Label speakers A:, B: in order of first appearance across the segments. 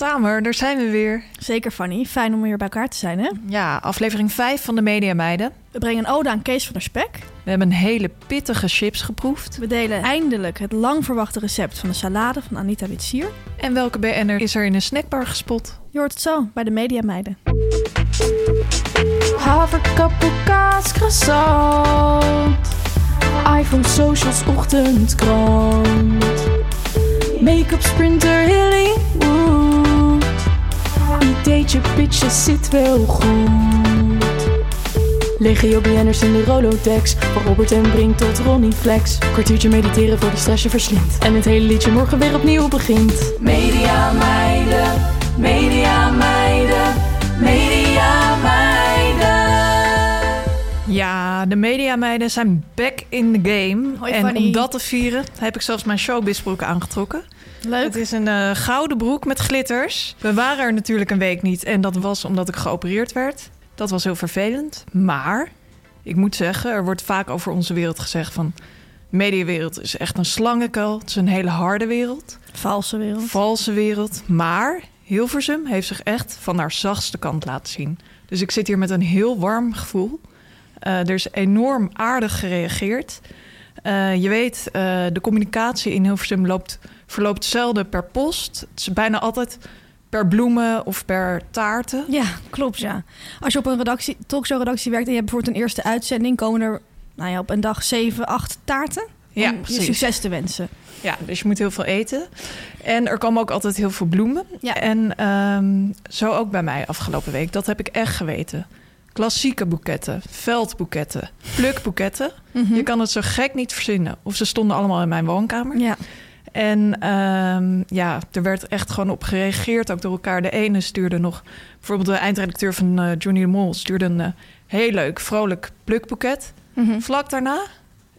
A: Tamer, daar zijn we weer.
B: Zeker Fanny, fijn om weer bij elkaar te zijn hè.
A: Ja, aflevering 5 van de Media Meiden.
B: We brengen een ode aan Kees van der Spek.
A: We hebben een hele pittige chips geproefd.
B: We delen eindelijk het lang verwachte recept van de salade van Anita Witsier.
A: En welke BN'er is er in een snackbar gespot?
B: Je hoort het zo bij de Media Meiden.
C: Haverkappel, kaas, croissant. iPhone, socials, ochtendkrant. Make-up, sprinter, Hollywood. Ideetje, pitje, zit wel goed. Legio BN'ers in de Rolodex. Van Robert en Brink tot Ronnie Flex. Kwartiertje mediteren voor de stress je verslindt. En het hele liedje morgen weer opnieuw begint. Media meiden, media meiden, media meiden.
A: Ja, de Media Meiden zijn back in the game.
B: Hoi,
A: en
B: Fanny.
A: om dat te vieren heb ik zelfs mijn showbizbroek aangetrokken. Het
B: Leuk.
A: is een eh, gouden broek met glitters. We waren er natuurlijk een week niet en dat was omdat ik geopereerd werd. Dat was heel vervelend, maar ik moet zeggen, er wordt vaak over onze wereld gezegd van... De mediawereld is echt een slangenkuil. Het is een hele harde wereld.
B: Valse wereld.
A: Valse wereld. Maar Hilversum heeft zich echt van haar zachtste kant laten zien. Dus ik zit hier met een heel warm gevoel. Eh, er is enorm aardig gereageerd. Eh, je weet, eh, de communicatie in Hilversum loopt, verloopt zelden per post. Het is bijna altijd per bloemen of per taarten.
B: Ja, klopt ja. Als je op een redactie, talkshow-redactie werkt en je hebt bijvoorbeeld een eerste uitzending... komen er nou ja, op een dag 7, 8 taarten
A: Ja,
B: om je
A: precies.
B: succes te wensen.
A: Ja, dus je moet heel veel eten. En er komen ook altijd heel veel bloemen.
B: Ja.
A: En ehm, zo ook bij mij afgelopen week. Dat heb ik echt geweten. Klassieke boeketten, veldboeketten, plukboeketten.
B: Mhm.
A: Je kan het zo gek niet verzinnen. Of ze stonden allemaal in mijn woonkamer.
B: Ja.
A: En ehm, ja, er werd echt gewoon op gereageerd, ook door elkaar. De ene stuurde nog, bijvoorbeeld de eindredacteur van eh, Johnny de Mol... stuurde een eh, heel leuk, vrolijk plukboeket.
B: Mhm.
A: Vlak daarna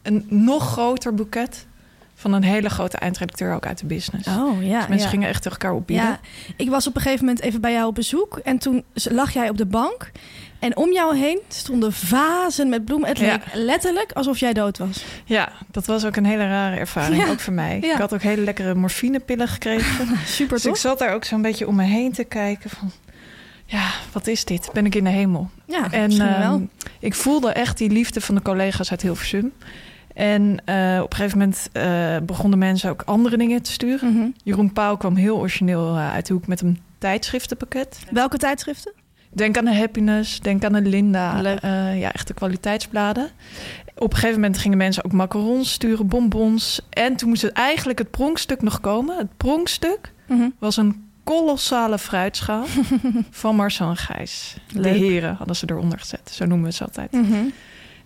A: een nog groter boeket van een hele grote eindredacteur ook uit de business.
B: Oh ja.
A: Dus mensen
B: ja.
A: gingen echt tegen elkaar opbieden.
B: Ja, ik was op een gegeven moment even bij jou op bezoek en toen z- lag jij op de bank. En om jou heen stonden vazen met bloemen. Het
A: Ja.
B: leek letterlijk alsof jij dood was.
A: Ja, dat was ook een hele rare ervaring,
B: Ja.
A: ook voor mij.
B: Ja.
A: Ik had ook hele lekkere morfinepillen gekregen.
B: Nou, Super
A: dus ik
B: toch?
A: zat daar ook zo'n beetje om me heen te kijken van... Ja, wat is dit? Ben ik in de hemel?
B: Ja,
A: En
B: misschien wel.
A: ehm, ik voelde echt die liefde van de collega's uit Hilversum. En eh, op een gegeven moment eh, begonnen mensen ook andere dingen te sturen.
B: Mhm.
A: Jeroen Pauw kwam heel origineel eh, uit de hoek met een tijdschriftenpakket.
B: Welke tijdschriften?
A: Denk aan de Happiness, denk aan de Linda.
B: Leuk.
A: Eh, ja, echte kwaliteitsbladen. Op een gegeven moment gingen mensen ook macarons sturen, bonbons. En toen moest het eigenlijk het pronkstuk nog komen. Het pronkstuk
B: Mhm.
A: was een kolossale fruitschaal van Marcel en Gijs. De
B: Leuk. Mhm.
A: heren hadden ze eronder gezet, zo noemen we ze altijd.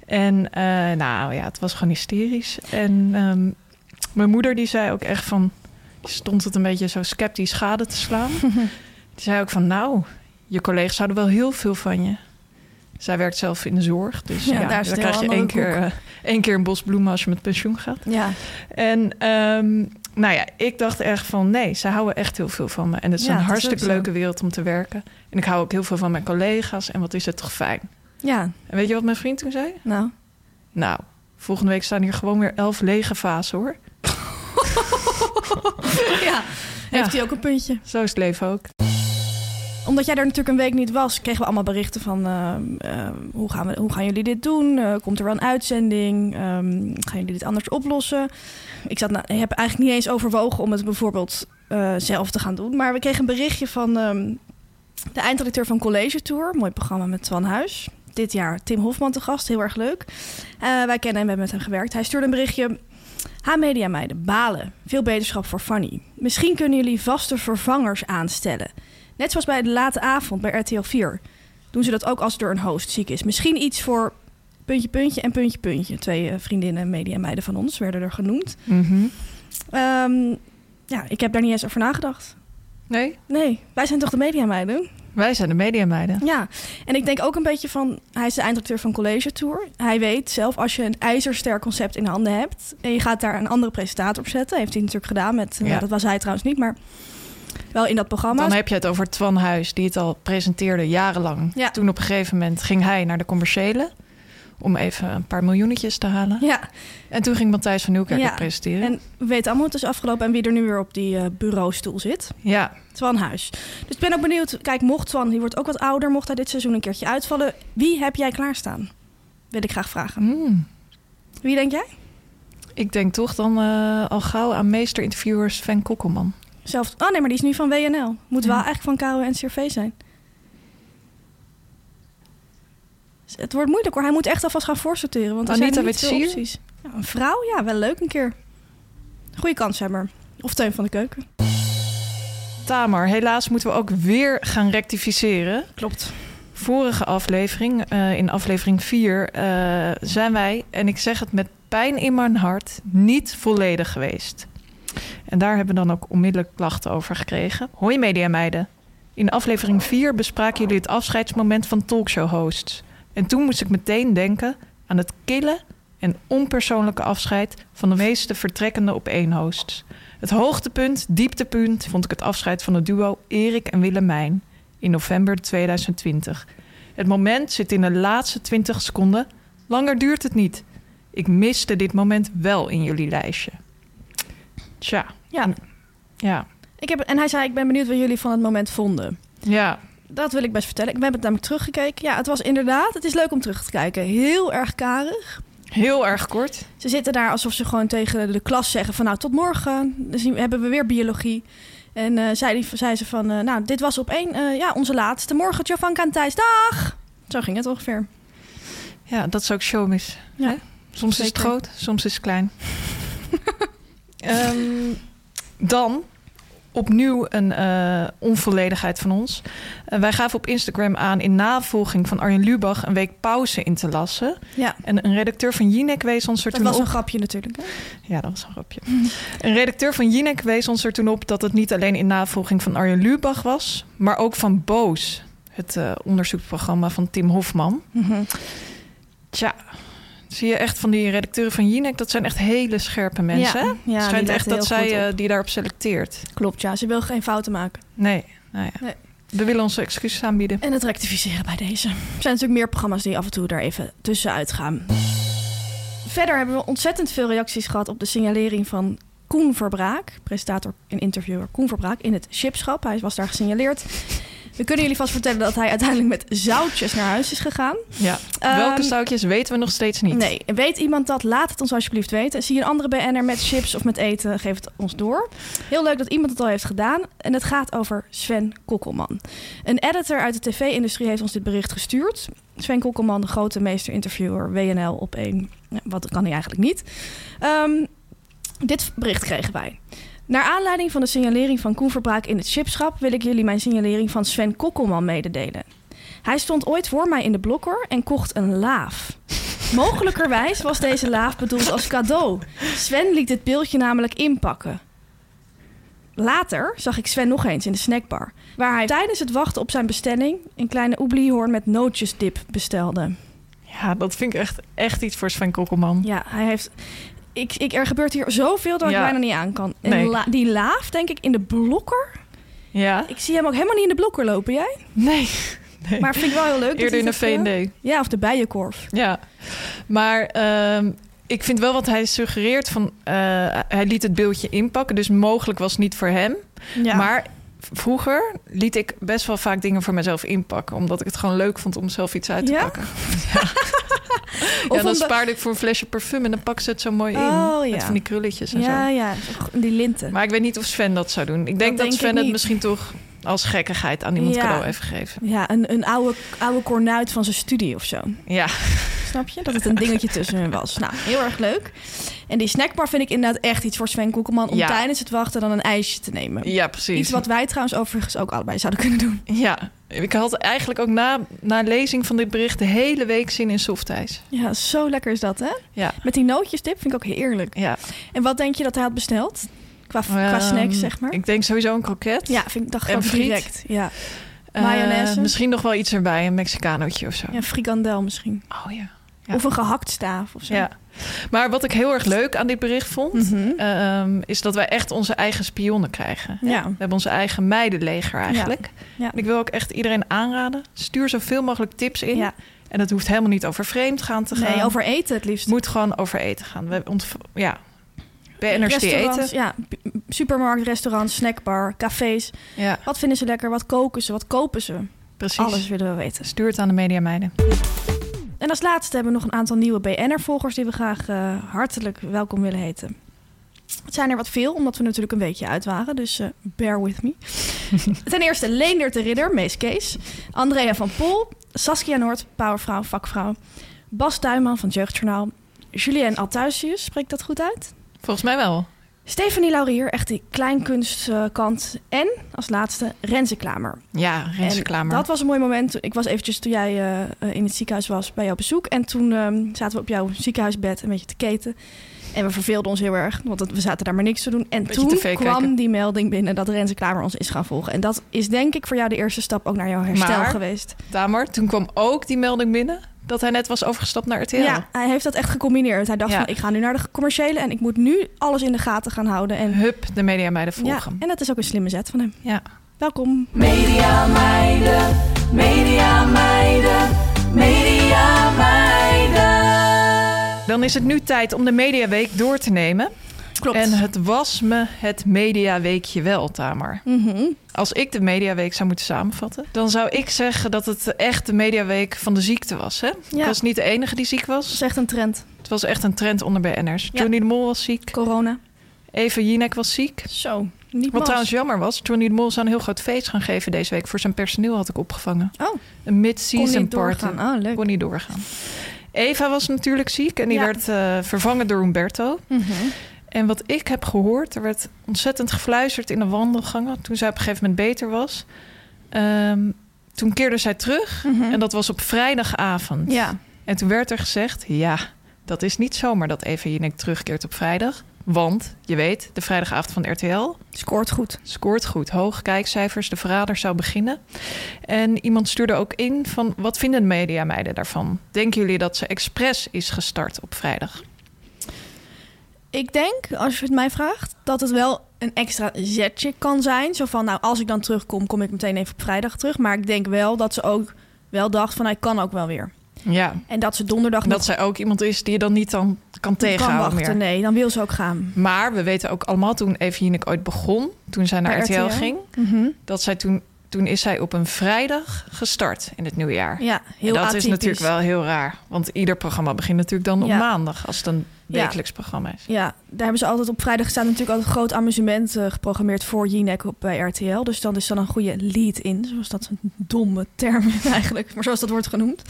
A: En eh, nou ja, het was gewoon hysterisch. En ehm, mijn moeder die zei ook echt van... die stond het een beetje zo sceptisch schade te slaan. die zei ook van, nou, je collega's houden wel heel veel van je. Zij werkt zelf in de zorg, dus
B: Ja,
A: ja,
B: daar is
A: dan
B: het heel
A: krijg je
B: andere
A: één keer,
B: koek.
A: eh, één keer een bos bloemen als je met pensioen gaat.
B: Ja,
A: En ehm, nou ja, ik dacht echt van nee, ze houden echt heel veel van me. En het is
B: Ja, dat
A: een
B: is
A: hartstikke
B: ook zo.
A: leuke wereld om te werken. En ik hou ook heel veel van mijn collega's. En wat is het toch fijn.
B: ja,
A: En weet je wat mijn vriend toen zei?
B: nou.
A: Nou, volgende week staan hier gewoon weer elf lege vazen hoor.
B: Ja, heeft hij ook een puntje.
A: Zo is het leven ook.
B: Omdat jij er natuurlijk een week niet was, kregen we allemaal berichten van... eh, eh, hoe, gaan we, hoe gaan jullie dit doen? Eh, komt er wel een uitzending? Ehm, gaan jullie dit anders oplossen? Ik zat nou, ik heb eigenlijk niet eens overwogen om het bijvoorbeeld eh, zelf te gaan doen. Maar we kregen een berichtje van ehm, de eindredacteur van College Tour. Mooi programma met Twan Huis. Dit jaar Tim Hofman te gast, heel erg leuk. Eh, wij kennen hem, we hebben met hem gewerkt. Hij stuurde een berichtje... H-Media meiden, balen. Veel beterschap voor Fanny. Misschien kunnen jullie vaste vervangers aanstellen. Net zoals bij de late avond bij RTL 4. Doen ze dat ook als er een host ziek is. Misschien iets voor puntje, puntje en puntje, puntje. Twee eh, vriendinnen, media meiden van ons werden er genoemd.
A: Mhm.
B: Ehm, ja, ik heb daar niet eens over nagedacht.
A: Nee,
B: Nee, wij zijn toch de media meiden?
A: wij zijn de mediameiden.
B: Ja, en ik denk ook een beetje van... Hij is de eindredacteur van College Tour. Hij weet zelf, als je een ijzersterk concept in handen hebt... en je gaat daar een andere presentator op zetten... heeft hij natuurlijk gedaan met...
A: Ja.
B: nou, dat was hij trouwens niet, maar wel in dat programma.
A: Dan heb je het over Twan Huis, die het al presenteerde jarenlang.
B: Ja.
A: Toen op een gegeven moment ging hij naar de commerciële om even een paar miljoenetjes te halen.
B: Ja,
A: En toen ging Matthijs van Nieuwkerk
B: Ja.
A: het presenteren.
B: en we weten allemaal hoe het is afgelopen... en wie er nu weer op die eh, bureaustoel zit.
A: Ja,
B: Twan Huis. Dus ik ben ook benieuwd... Kijk, mocht Twan, die wordt ook wat ouder... mocht hij dit seizoen een keertje uitvallen... wie heb jij klaarstaan? Wil ik graag vragen.
A: Hmm.
B: Wie denk jij?
A: ik denk toch dan eh, al gauw aan meester interviewers Van Kokkelman.
B: Zelf... Oh nee, maar die is nu van WNL. Moet wel eigenlijk van KRO en CRV zijn. Dus Het wordt moeilijk hoor. Hij moet echt alvast gaan voorsorteren. Want er
A: Anita
B: zijn niet veel
A: Witsier?
B: opties. Ja, een vrouw? Ja, wel leuk een keer. Goeie kanshebber. Of Teun van de Keuken.
A: Tamar, helaas moeten we ook weer gaan rectificeren.
B: Klopt.
A: Vorige aflevering, eh, in aflevering 4, zijn wij, en ik zeg het met pijn in mijn hart, niet volledig geweest. En daar hebben we dan ook onmiddellijk klachten over gekregen. Hoi mediameiden. In aflevering 4 bespraken jullie het afscheidsmoment van talkshow-hosts. En toen moest ik meteen denken aan het kille en onpersoonlijke afscheid van de meeste vertrekkende opeenhosts. Het hoogtepunt, dieptepunt, vond ik het afscheid van het duo Erik en Willemijn in november 2020. Het moment zit in de laatste 20 seconden. Langer duurt het niet. Ik miste dit moment wel in jullie lijstje. Tja,
B: Ja.
A: ja.
B: Ik heb... En hij zei, ik ben benieuwd wat jullie van het moment vonden.
A: Ja,
B: Dat wil ik best vertellen. Ik heb het namelijk teruggekeken. Ja, het was inderdaad... Het is leuk om terug te kijken. Heel erg karig.
A: heel erg kort.
B: Ze zitten daar alsof ze gewoon tegen de klas zeggen van nou tot morgen. Dus nu hebben we weer biologie. En eh zei, die, zei ze van eh, nou dit was op één, eh, ja onze laatste. Morgen Jovanka en Thijs, dag! Zo ging het ongeveer.
A: Ja, dat is ook showmis.
B: Ja,
A: hè? Soms is het
B: zeker.
A: groot, soms is het klein. Ehm, dan opnieuw een eh, onvolledigheid van ons. Eh, wij gaven op Instagram aan in navolging van Arjen Lubach een week pauze in te lassen.
B: Ja,
A: En een redacteur van Jinek wees ons er
B: dat
A: toen
B: was
A: op...
B: een grapje natuurlijk. hè?
A: Ja, dat was een grapje. Een redacteur van Jinek wees ons er toen op dat het niet alleen in navolging van Arjen Lubach was, maar ook van Boos, het eh, onderzoeksprogramma van Tim Hofman.
B: Mhm.
A: Tja, zie je echt van die redacteuren van Jinek, dat zijn echt hele scherpe mensen.
B: Ja,
A: hè?
B: ja, die
A: Het schijnt
B: letten
A: echt dat
B: heel
A: zij
B: goed
A: eh, die daarop selecteert.
B: Klopt, ja. Ze wil geen fouten maken.
A: Nee, nou ja.
B: Nee.
A: we willen onze excuses aanbieden.
B: En het rectificeren bij deze. Er zijn natuurlijk meer programma's die af en toe daar even tussenuit gaan. Verder hebben we ontzettend veel reacties gehad op de signalering van Koen Verbraak, presentator en interviewer Koen Verbraak, in het chipschap. Hij was daar gesignaleerd. We kunnen jullie vast vertellen dat hij uiteindelijk met zoutjes naar huis is gegaan.
A: Ja.
B: Ehm,
A: Welke zoutjes weten we nog steeds niet.
B: Nee, weet iemand dat? Laat het ons alsjeblieft weten. Zie je een andere BN'er met chips of met eten? Geef het ons door. Heel leuk dat iemand het al heeft gedaan. En het gaat over Sven Kokkelman. Een editor uit de tv-industrie heeft ons dit bericht gestuurd. Sven Kokkelman, de grote meester-interviewer, WNL op één. Ja, wat kan hij eigenlijk niet? Ehm, dit bericht kregen wij. Naar aanleiding van de signalering van Koen Verbraak in het chipschap... wil ik jullie mijn signalering van Sven Kokkelman mededelen. Hij stond ooit voor mij in de blokker en kocht een laaf. Mogelijkerwijs was deze laaf bedoeld als cadeau. Sven liet dit beeldje namelijk inpakken. Later zag ik Sven nog eens in de snackbar, waar hij tijdens het wachten op zijn bestelling een kleine oebliehoorn met nootjesdip bestelde.
A: Ja, dat vind ik echt, echt iets voor Sven Kokkelman.
B: Ja, hij heeft. Ik, ik, er gebeurt hier zoveel dat ik
A: Ja.
B: bijna niet aan kan. En
A: Nee.
B: la- die laaf, denk ik, in de blokker.
A: Ja?
B: Ik zie hem ook helemaal niet in de blokker lopen, jij?
A: Nee. nee.
B: Maar vind ik wel heel leuk. dat
A: Eerder
B: hij
A: in de
B: dat, eh,
A: V&D.
B: Ja, of de bijenkorf.
A: Ja, maar ehm, ik vind wel wat hij suggereert van... eh, hij liet het beeldje inpakken, dus mogelijk was het niet voor hem.
B: Ja.
A: Maar v- vroeger liet ik best wel vaak dingen voor mezelf inpakken... omdat ik het gewoon leuk vond om zelf iets uit te
B: Ja?
A: pakken.
B: Of
A: Ja, dan
B: om de-
A: spaarde ik voor een flesje parfum en dan pak ze het zo mooi
B: Oh,
A: in. Met
B: ja.
A: van die krulletjes en
B: ja,
A: zo.
B: ja, die linten.
A: Maar ik weet niet of Sven dat zou doen. Ik denk dat,
B: denk ik
A: Sven het
B: niet.
A: misschien toch als gekkigheid aan iemand
B: Ja.
A: cadeau heeft gegeven.
B: Ja, een, een oude, oude kornuit van zijn studie of zo.
A: Ja,
B: Snap je? Dat het een dingetje tussen hun was. Nou, heel erg leuk. En die snackbar vind ik inderdaad echt iets voor Sven Koekelman... om
A: Ja.
B: tijdens het wachten dan een ijsje te nemen.
A: Ja, precies.
B: Iets wat wij trouwens overigens ook allebei zouden kunnen doen.
A: Ja, ik had eigenlijk ook na, na lezing van dit bericht de hele week zin in softijs.
B: Ja, zo lekker is dat, hè?
A: Ja,
B: Met die nootjesdip vind ik ook heerlijk.
A: ja.
B: En wat denk je dat hij had besteld? Qua, qua snacks,
A: Ehm,
B: zeg maar.
A: Ik denk sowieso een kroket.
B: Ja, vind ik dacht
A: En
B: gewoon
A: friet.
B: direct. Ja.
A: Eh,
B: mayonaise.
A: misschien nog wel iets erbij, een Mexicanootje of zo.
B: ja, frikandel misschien.
A: Oh ja. Ja.
B: Of een gehakt staaf of zo.
A: ja. Maar wat ik heel erg leuk aan dit bericht vond,
B: Mhm.
A: ehm, is dat wij echt onze eigen spionnen krijgen.
B: Ja.
A: We hebben onze eigen meidenleger eigenlijk.
B: Ja.
A: En ik wil ook echt iedereen aanraden, stuur zoveel mogelijk tips in.
B: Ja.
A: En dat hoeft helemaal niet over vreemdgaan te gaan.
B: Nee, over eten het liefst.
A: Het moet gewoon over eten gaan. We ontv- ja, BN'ers die
B: Restaurants,
A: eten.
B: ja, p- supermarkt, restaurant, snackbar, cafés.
A: Ja,
B: Wat vinden ze lekker? Wat koken ze? Wat kopen ze?
A: precies.
B: Alles willen we weten.
A: Stuurt aan de media meiden.
B: En als laatste hebben we nog een aantal nieuwe BN'er-volgers die we graag eh, hartelijk welkom willen heten. Het zijn er wat veel, omdat we natuurlijk een weekje uit waren, dus eh, bear with me. Ten eerste Leendert de Ridder, Mees Kees. Andrea van Pol, Saskia Noord, powervrouw, vakvrouw. Bas Duiman van het Jeugdjournaal. Julien Althuisius, spreekt dat goed uit?
A: Volgens mij wel.
B: Stephanie Laurier, echt die kleinkunstkant. en als laatste Renze Klamer.
A: Ja, Renske
B: En
A: Klamer.
B: Dat was een mooi moment. Ik was eventjes toen jij eh, eh, in het ziekenhuis was bij jou op bezoek. En toen ehm, zaten we op jouw ziekenhuisbed een beetje te keten. En we verveelden ons heel erg, want het- we zaten daar maar niks te doen. En
A: Beetje
B: toen
A: tv kijken.
B: kwam die melding binnen dat Renze Klamer ons is gaan volgen. En dat is denk ik voor jou de eerste stap ook naar jouw herstel
A: Maar-
B: geweest.
A: Tamer, toen kwam ook die melding binnen dat hij net was overgestapt naar RTL.
B: Ja, hij heeft dat echt gecombineerd. Hij dacht
A: Ja.
B: van, ik ga nu naar de commerciële en ik moet nu alles in de gaten gaan houden. En,
A: Hup, de media meiden
B: ja,
A: volgen.
B: en dat is ook een slimme zet van hem.
A: Ja.
B: Welkom.
C: Media meiden, media meiden, media meiden.
A: Dan is het nu tijd om de mediaweek door te nemen.
B: Klopt.
A: En het was me het mediaweekje wel, Tamer.
B: Mhm.
A: Als ik de mediaweek zou moeten samenvatten, dan zou ik zeggen dat het echt de mediaweek van de ziekte was. Hè? Ik was niet de enige die ziek
B: Dat
A: was.
B: is echt een trend.
A: Het was echt een trend onder BN'ers.
B: Ja.
A: Johnny de Mol was ziek.
B: Corona.
A: Eva Jinek was ziek.
B: Zo, niet
A: Wat
B: mas.
A: trouwens jammer was, Johnny de Mol zou een heel groot feest gaan geven deze week. Voor zijn personeel had ik opgevangen.
B: Oh,
A: Een
B: kon
A: mid-season
B: niet
A: party.
B: doorgaan. Oh, leuk.
A: Kon niet doorgaan. Eva was natuurlijk ziek en die
B: Ja.
A: werd eh, vervangen door Humberto.
B: Mhm.
A: En wat ik heb gehoord, er werd ontzettend gefluisterd in de wandelgangen toen zij op een gegeven moment beter was. Ehm, toen keerde zij terug en dat was op vrijdagavond.
B: Mhm. Ja,
A: En toen werd er gezegd, ja, dat is niet zomaar dat Eva Jinek terugkeert op vrijdag. Want, je weet, de vrijdagavond van RTL
B: scoort goed.
A: scoort goed. Hoog kijkcijfers, de verrader zou beginnen. En iemand stuurde ook in van, wat vinden de media meiden daarvan? Denken jullie dat ze expres is gestart op vrijdag?
B: Ik denk, als je het mij vraagt, dat het wel een extra zetje kan zijn. Zo van, nou, als ik dan terugkom, kom ik meteen even op vrijdag terug. Maar ik denk wel dat ze ook wel dacht van, hij kan ook wel weer.
A: Ja,
B: En dat ze donderdag
A: dat
B: nog
A: zij ook iemand is die je dan niet dan kan
B: kan
A: tegenhouden
B: wachten.
A: meer.
B: Nee, dan wil ze ook gaan.
A: Maar we weten ook allemaal toen Eva Jinek ooit begon, toen zij naar
B: Bij
A: RTL,
B: RTL?
A: ging,
B: Mhm.
A: dat zij toen, toen is zij op een vrijdag gestart in het nieuwe jaar.
B: Ja, heel
A: en dat
B: atypisch.
A: is natuurlijk wel heel raar, want ieder programma begint natuurlijk dan
B: Ja.
A: op maandag als het een
B: Ja.
A: wekelijks programma is.
B: Ja, daar hebben ze altijd op vrijdag staan natuurlijk altijd een groot amusement eh, geprogrammeerd voor Jinek op bij RTL. Dus dan is dan een goede lead in, zoals dat een domme term is eigenlijk, maar zoals dat wordt genoemd.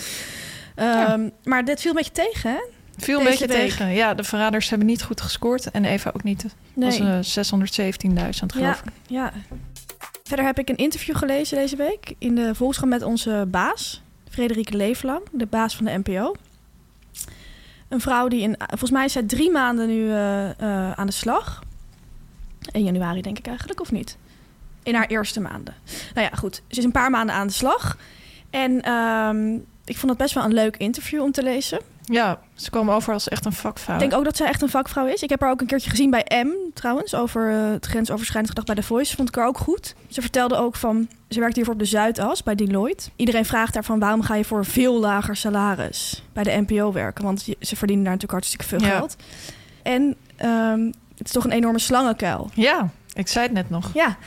B: Ehm, Maar dit viel een beetje tegen, hè?
A: Veel een
B: Deze
A: beetje
B: week.
A: tegen. Ja, de verraders hebben niet goed gescoord en Eva ook niet. Het was eh, 617.000
B: ja,
A: geloof ik.
B: ja. Verder heb ik een interview gelezen deze week in de Volkskrant met onze baas, Frederike Leeflang, de baas van de NPO. Een vrouw die in, volgens mij is zij drie maanden nu eh, eh, aan de slag. 1 januari denk ik eigenlijk, of niet? In haar eerste maanden. Nou ja, goed. Ze is een paar maanden aan de slag. En ehm, ik vond het best wel een leuk interview om te lezen.
A: Ja, ze kwamen over als echt een vakvrouw.
B: Ik denk ook dat zij echt een vakvrouw is. Ik heb haar ook een keertje gezien bij M, trouwens, over eh, het grensoverschrijdend gedrag bij The Voice. Vond ik haar ook goed. Ze vertelde ook van, ze werkt hiervoor op de Zuidas, bij Deloitte. Iedereen vraagt haar van, waarom ga je voor een veel lager salaris bij de NPO werken? Want je- ze verdienen daar natuurlijk hartstikke veel
A: Ja.
B: geld. En ehm, het is toch een enorme slangenkuil.
A: Ja, ik zei het net nog.
B: Ja, waarop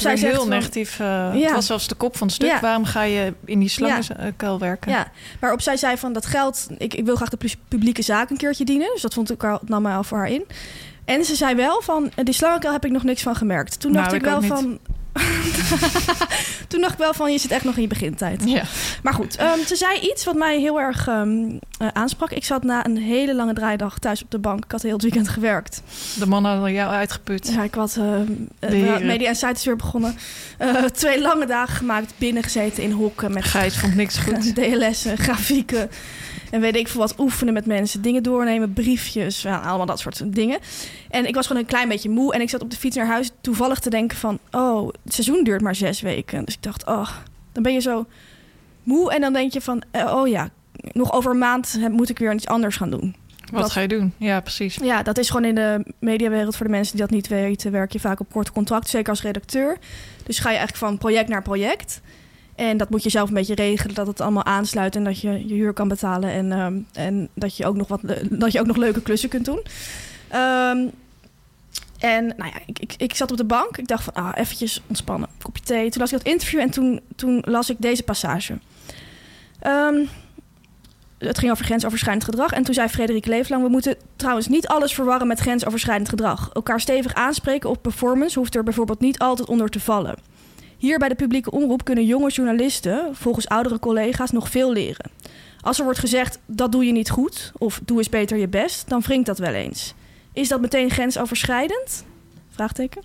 A: Waarop
B: zij
A: zij
B: zegt
A: heel
B: van-
A: negatief. eh,
B: Ja.
A: Het was zelfs de kop van het stuk.
B: Ja.
A: Waarom ga je in die slangenkuil werken?
B: Ja, waarop zij zei van dat geld, ik, ik wil graag de pu- publieke zaak een keertje dienen. Dus dat vond ik al, nam mij al voor haar in. En ze zei wel van, eh, die slangenkuil heb ik nog niks van gemerkt. Toen
A: Nou,
B: dacht ik,
A: ik
B: wel
A: ook niet.
B: van, Toen dacht ik wel van, je zit echt nog in je begintijd.
A: Ja.
B: Maar goed, ehm, ze zei iets wat mij heel erg ehm, eh, aansprak. Ik zat na een hele lange draaidag thuis op de bank. Ik had heel het weekend gewerkt.
A: De mannen hadden jou uitgeput.
B: Ja, ik had ehm, eh,
A: heren.
B: media en site is weer begonnen. Eh, twee lange dagen gemaakt, binnen gezeten in hokken met
A: Gijs vond niks goed.
B: DLS'en, eh, grafieken. En weet ik veel wat, oefenen met mensen, dingen doornemen, briefjes, nou, allemaal dat soort dingen. En ik was gewoon een klein beetje moe en ik zat op de fiets naar huis toevallig te denken van... oh, het seizoen duurt maar zes weken. Dus ik dacht, oh, dan ben je zo moe en dan denk je van... eh, oh ja, nog over een maand eh, moet ik weer iets anders gaan doen.
A: Wat ga je doen? Ja, precies.
B: Ja, dat is gewoon in de mediawereld voor de mensen die dat niet weten, werk je vaak op kort contract, zeker als redacteur. Dus ga je eigenlijk van project naar project. En dat moet je zelf een beetje regelen, dat het allemaal aansluit en dat je je huur kan betalen en, ehm, en dat, je ook nog wat, le- dat je ook nog leuke klussen kunt doen. Ehm, en nou ja, ik, ik, ik zat op de bank. Ik dacht van, ah, eventjes ontspannen, kopje thee. Toen las ik dat interview en toen, toen las ik deze passage. Ehm, het ging over grensoverschrijdend gedrag. En toen zei Frederik Leeflang... we moeten trouwens niet alles verwarren met grensoverschrijdend gedrag. Elkaar stevig aanspreken op performance... hoeft er bijvoorbeeld niet altijd onder te vallen. Hier bij de publieke omroep kunnen jonge journalisten... volgens oudere collega's nog veel leren. Als er wordt gezegd, dat doe je niet goed... of doe eens beter je best, dan wringt dat wel eens. Is dat meteen grensoverschrijdend? Vraagteken.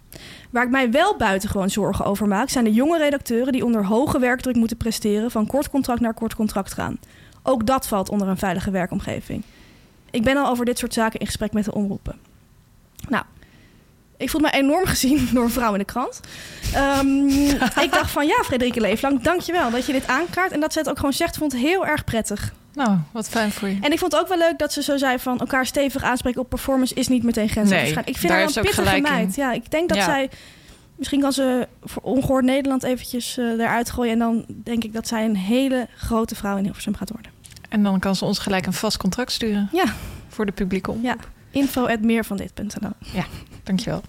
B: Waar ik mij wel buitengewoon zorgen over maak... zijn de jonge redacteuren die onder hoge werkdruk moeten presteren... van kort contract naar kort contract gaan... Ook dat valt onder een veilige werkomgeving. Ik ben al over dit soort zaken in gesprek met de omroepen. Nou, ik voelde me enorm gezien door een vrouw in de krant. Ehm, ik dacht van ja, Frederike Leeflang, dankjewel dat je dit aankaart. En dat ze het ook gewoon zegt, vond ik heel erg prettig.
A: Nou, wat fijn voor je.
B: En ik vond het ook wel leuk dat ze zo zei van elkaar stevig aanspreken op performance is niet meteen grensoverschrijdend.
A: Nee,
B: ik vind
A: daar
B: haar
A: is
B: een
A: ook
B: pittige
A: gelijk in.
B: meid. Ja, ik denk dat
A: Ja.
B: zij... Misschien kan ze voor ongehoord Nederland eventjes eh, eruit gooien. En dan denk ik dat zij een hele grote vrouw in Hilversum gaat worden.
A: En dan kan ze ons gelijk een vast contract sturen
B: Ja.
A: voor de publieke om.
B: Ja, info at meervandit.nl.
A: Oh, Dankjewel.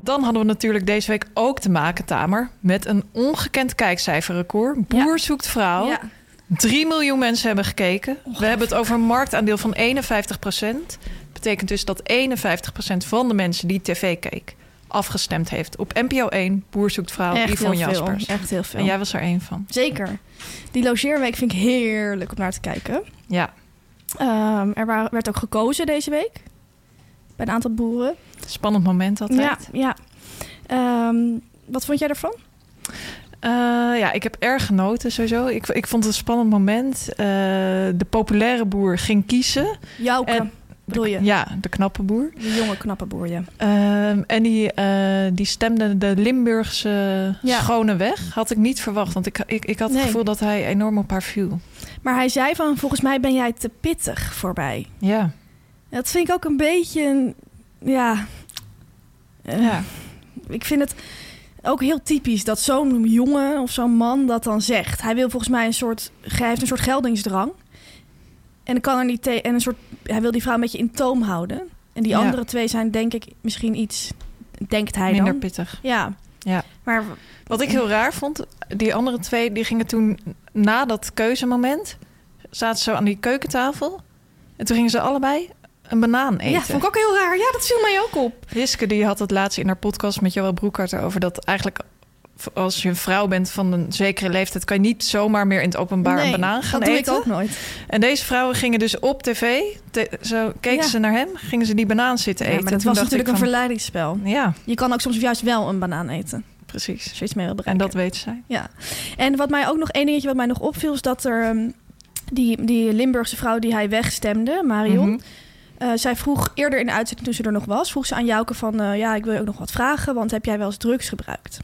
A: Dan hadden we natuurlijk deze week ook te maken, Tamer, met een ongekend kijkcijferrecord. Boer zoekt vrouw.
B: Ja.
A: 3 miljoen mensen hebben gekeken. We hebben het over een marktaandeel van 51 Betekent dus dat 51 van de mensen die tv keek afgestemd heeft op NPO 1, Boer zoekt vrouw,
B: Echt heel
A: Yvonne
B: veel.
A: Jaspers.
B: Echt heel veel.
A: En jij was er één van.
B: Zeker. Die logeerweek vind ik heerlijk om naar te kijken.
A: Ja,
B: Ehm, er wa- werd ook gekozen deze week. Bij een aantal boeren.
A: spannend moment altijd.
B: Ja, ja. Ehm, wat vond jij ervan?
A: Eh, ja, ik heb erg genoten sowieso. Ik, ik vond het een spannend moment. Eh, de populaire boer ging kiezen.
B: Jouke,
A: En-
B: eh, bedoel je?
A: Ja, de knappe boer.
B: Die jonge knappe boer, ja.
A: Ehm, en die, eh, die stemde de Limburgse
B: Ja.
A: schone weg. Had ik niet verwacht, want ik, ik, ik had het
B: Nee.
A: gevoel dat hij enorm op haar viel.
B: Maar hij zei van, volgens mij ben jij te pittig voor mij.
A: Ja,
B: Dat vind ik ook een beetje, een- ja... Eh,
A: ja.
B: Ik vind het ook heel typisch dat zo'n jongen of zo'n man dat dan zegt. Hij wil volgens mij een soort, hij heeft een soort geldingsdrang. En kan er niet tegen. En een soort, hij wil die vrouw een beetje in toom houden. En die
A: Ja.
B: andere twee zijn denk ik misschien iets, denkt hij
A: minder
B: dan.
A: pittig.
B: Ja.
A: Ja.
B: Maar
A: Wat ik heel raar vond, die andere twee die gingen toen na dat keuzemoment, zaten ze zo aan die keukentafel. En toen gingen ze allebei een banaan eten.
B: ja, vond ik ook heel raar. Ja, dat viel mij ook op.
A: Riske die had het laatst in haar podcast met Joël Broekhart over dat eigenlijk als je een vrouw bent van een zekere leeftijd kan je niet zomaar meer in het openbaar
B: Nee,
A: een banaan gaan
B: dat doe
A: eten.
B: ik ook nooit.
A: En deze vrouwen gingen dus op tv, te- zo keken
B: Ja.
A: ze naar hem, gingen ze die banaan zitten eten.
B: Ja, maar dat
A: Toen
B: was
A: dacht
B: natuurlijk
A: ik van,
B: een verleidingsspel.
A: Ja,
B: Je kan ook soms juist wel een banaan eten.
A: precies.
B: Zoiets mee wil
A: En
B: bereiken.
A: dat weet zij.
B: Ja, en wat mij ook nog één dingetje wat mij nog opviel is dat er ehm, die, die Limburgse vrouw die hij wegstemde, Marion.
A: Mhm.
B: eh, zij vroeg eerder in de uitzending toen ze er nog was, vroeg ze aan Jouke van eh, ja, ik wil je ook nog wat vragen, want heb jij wel eens drugs gebruikt?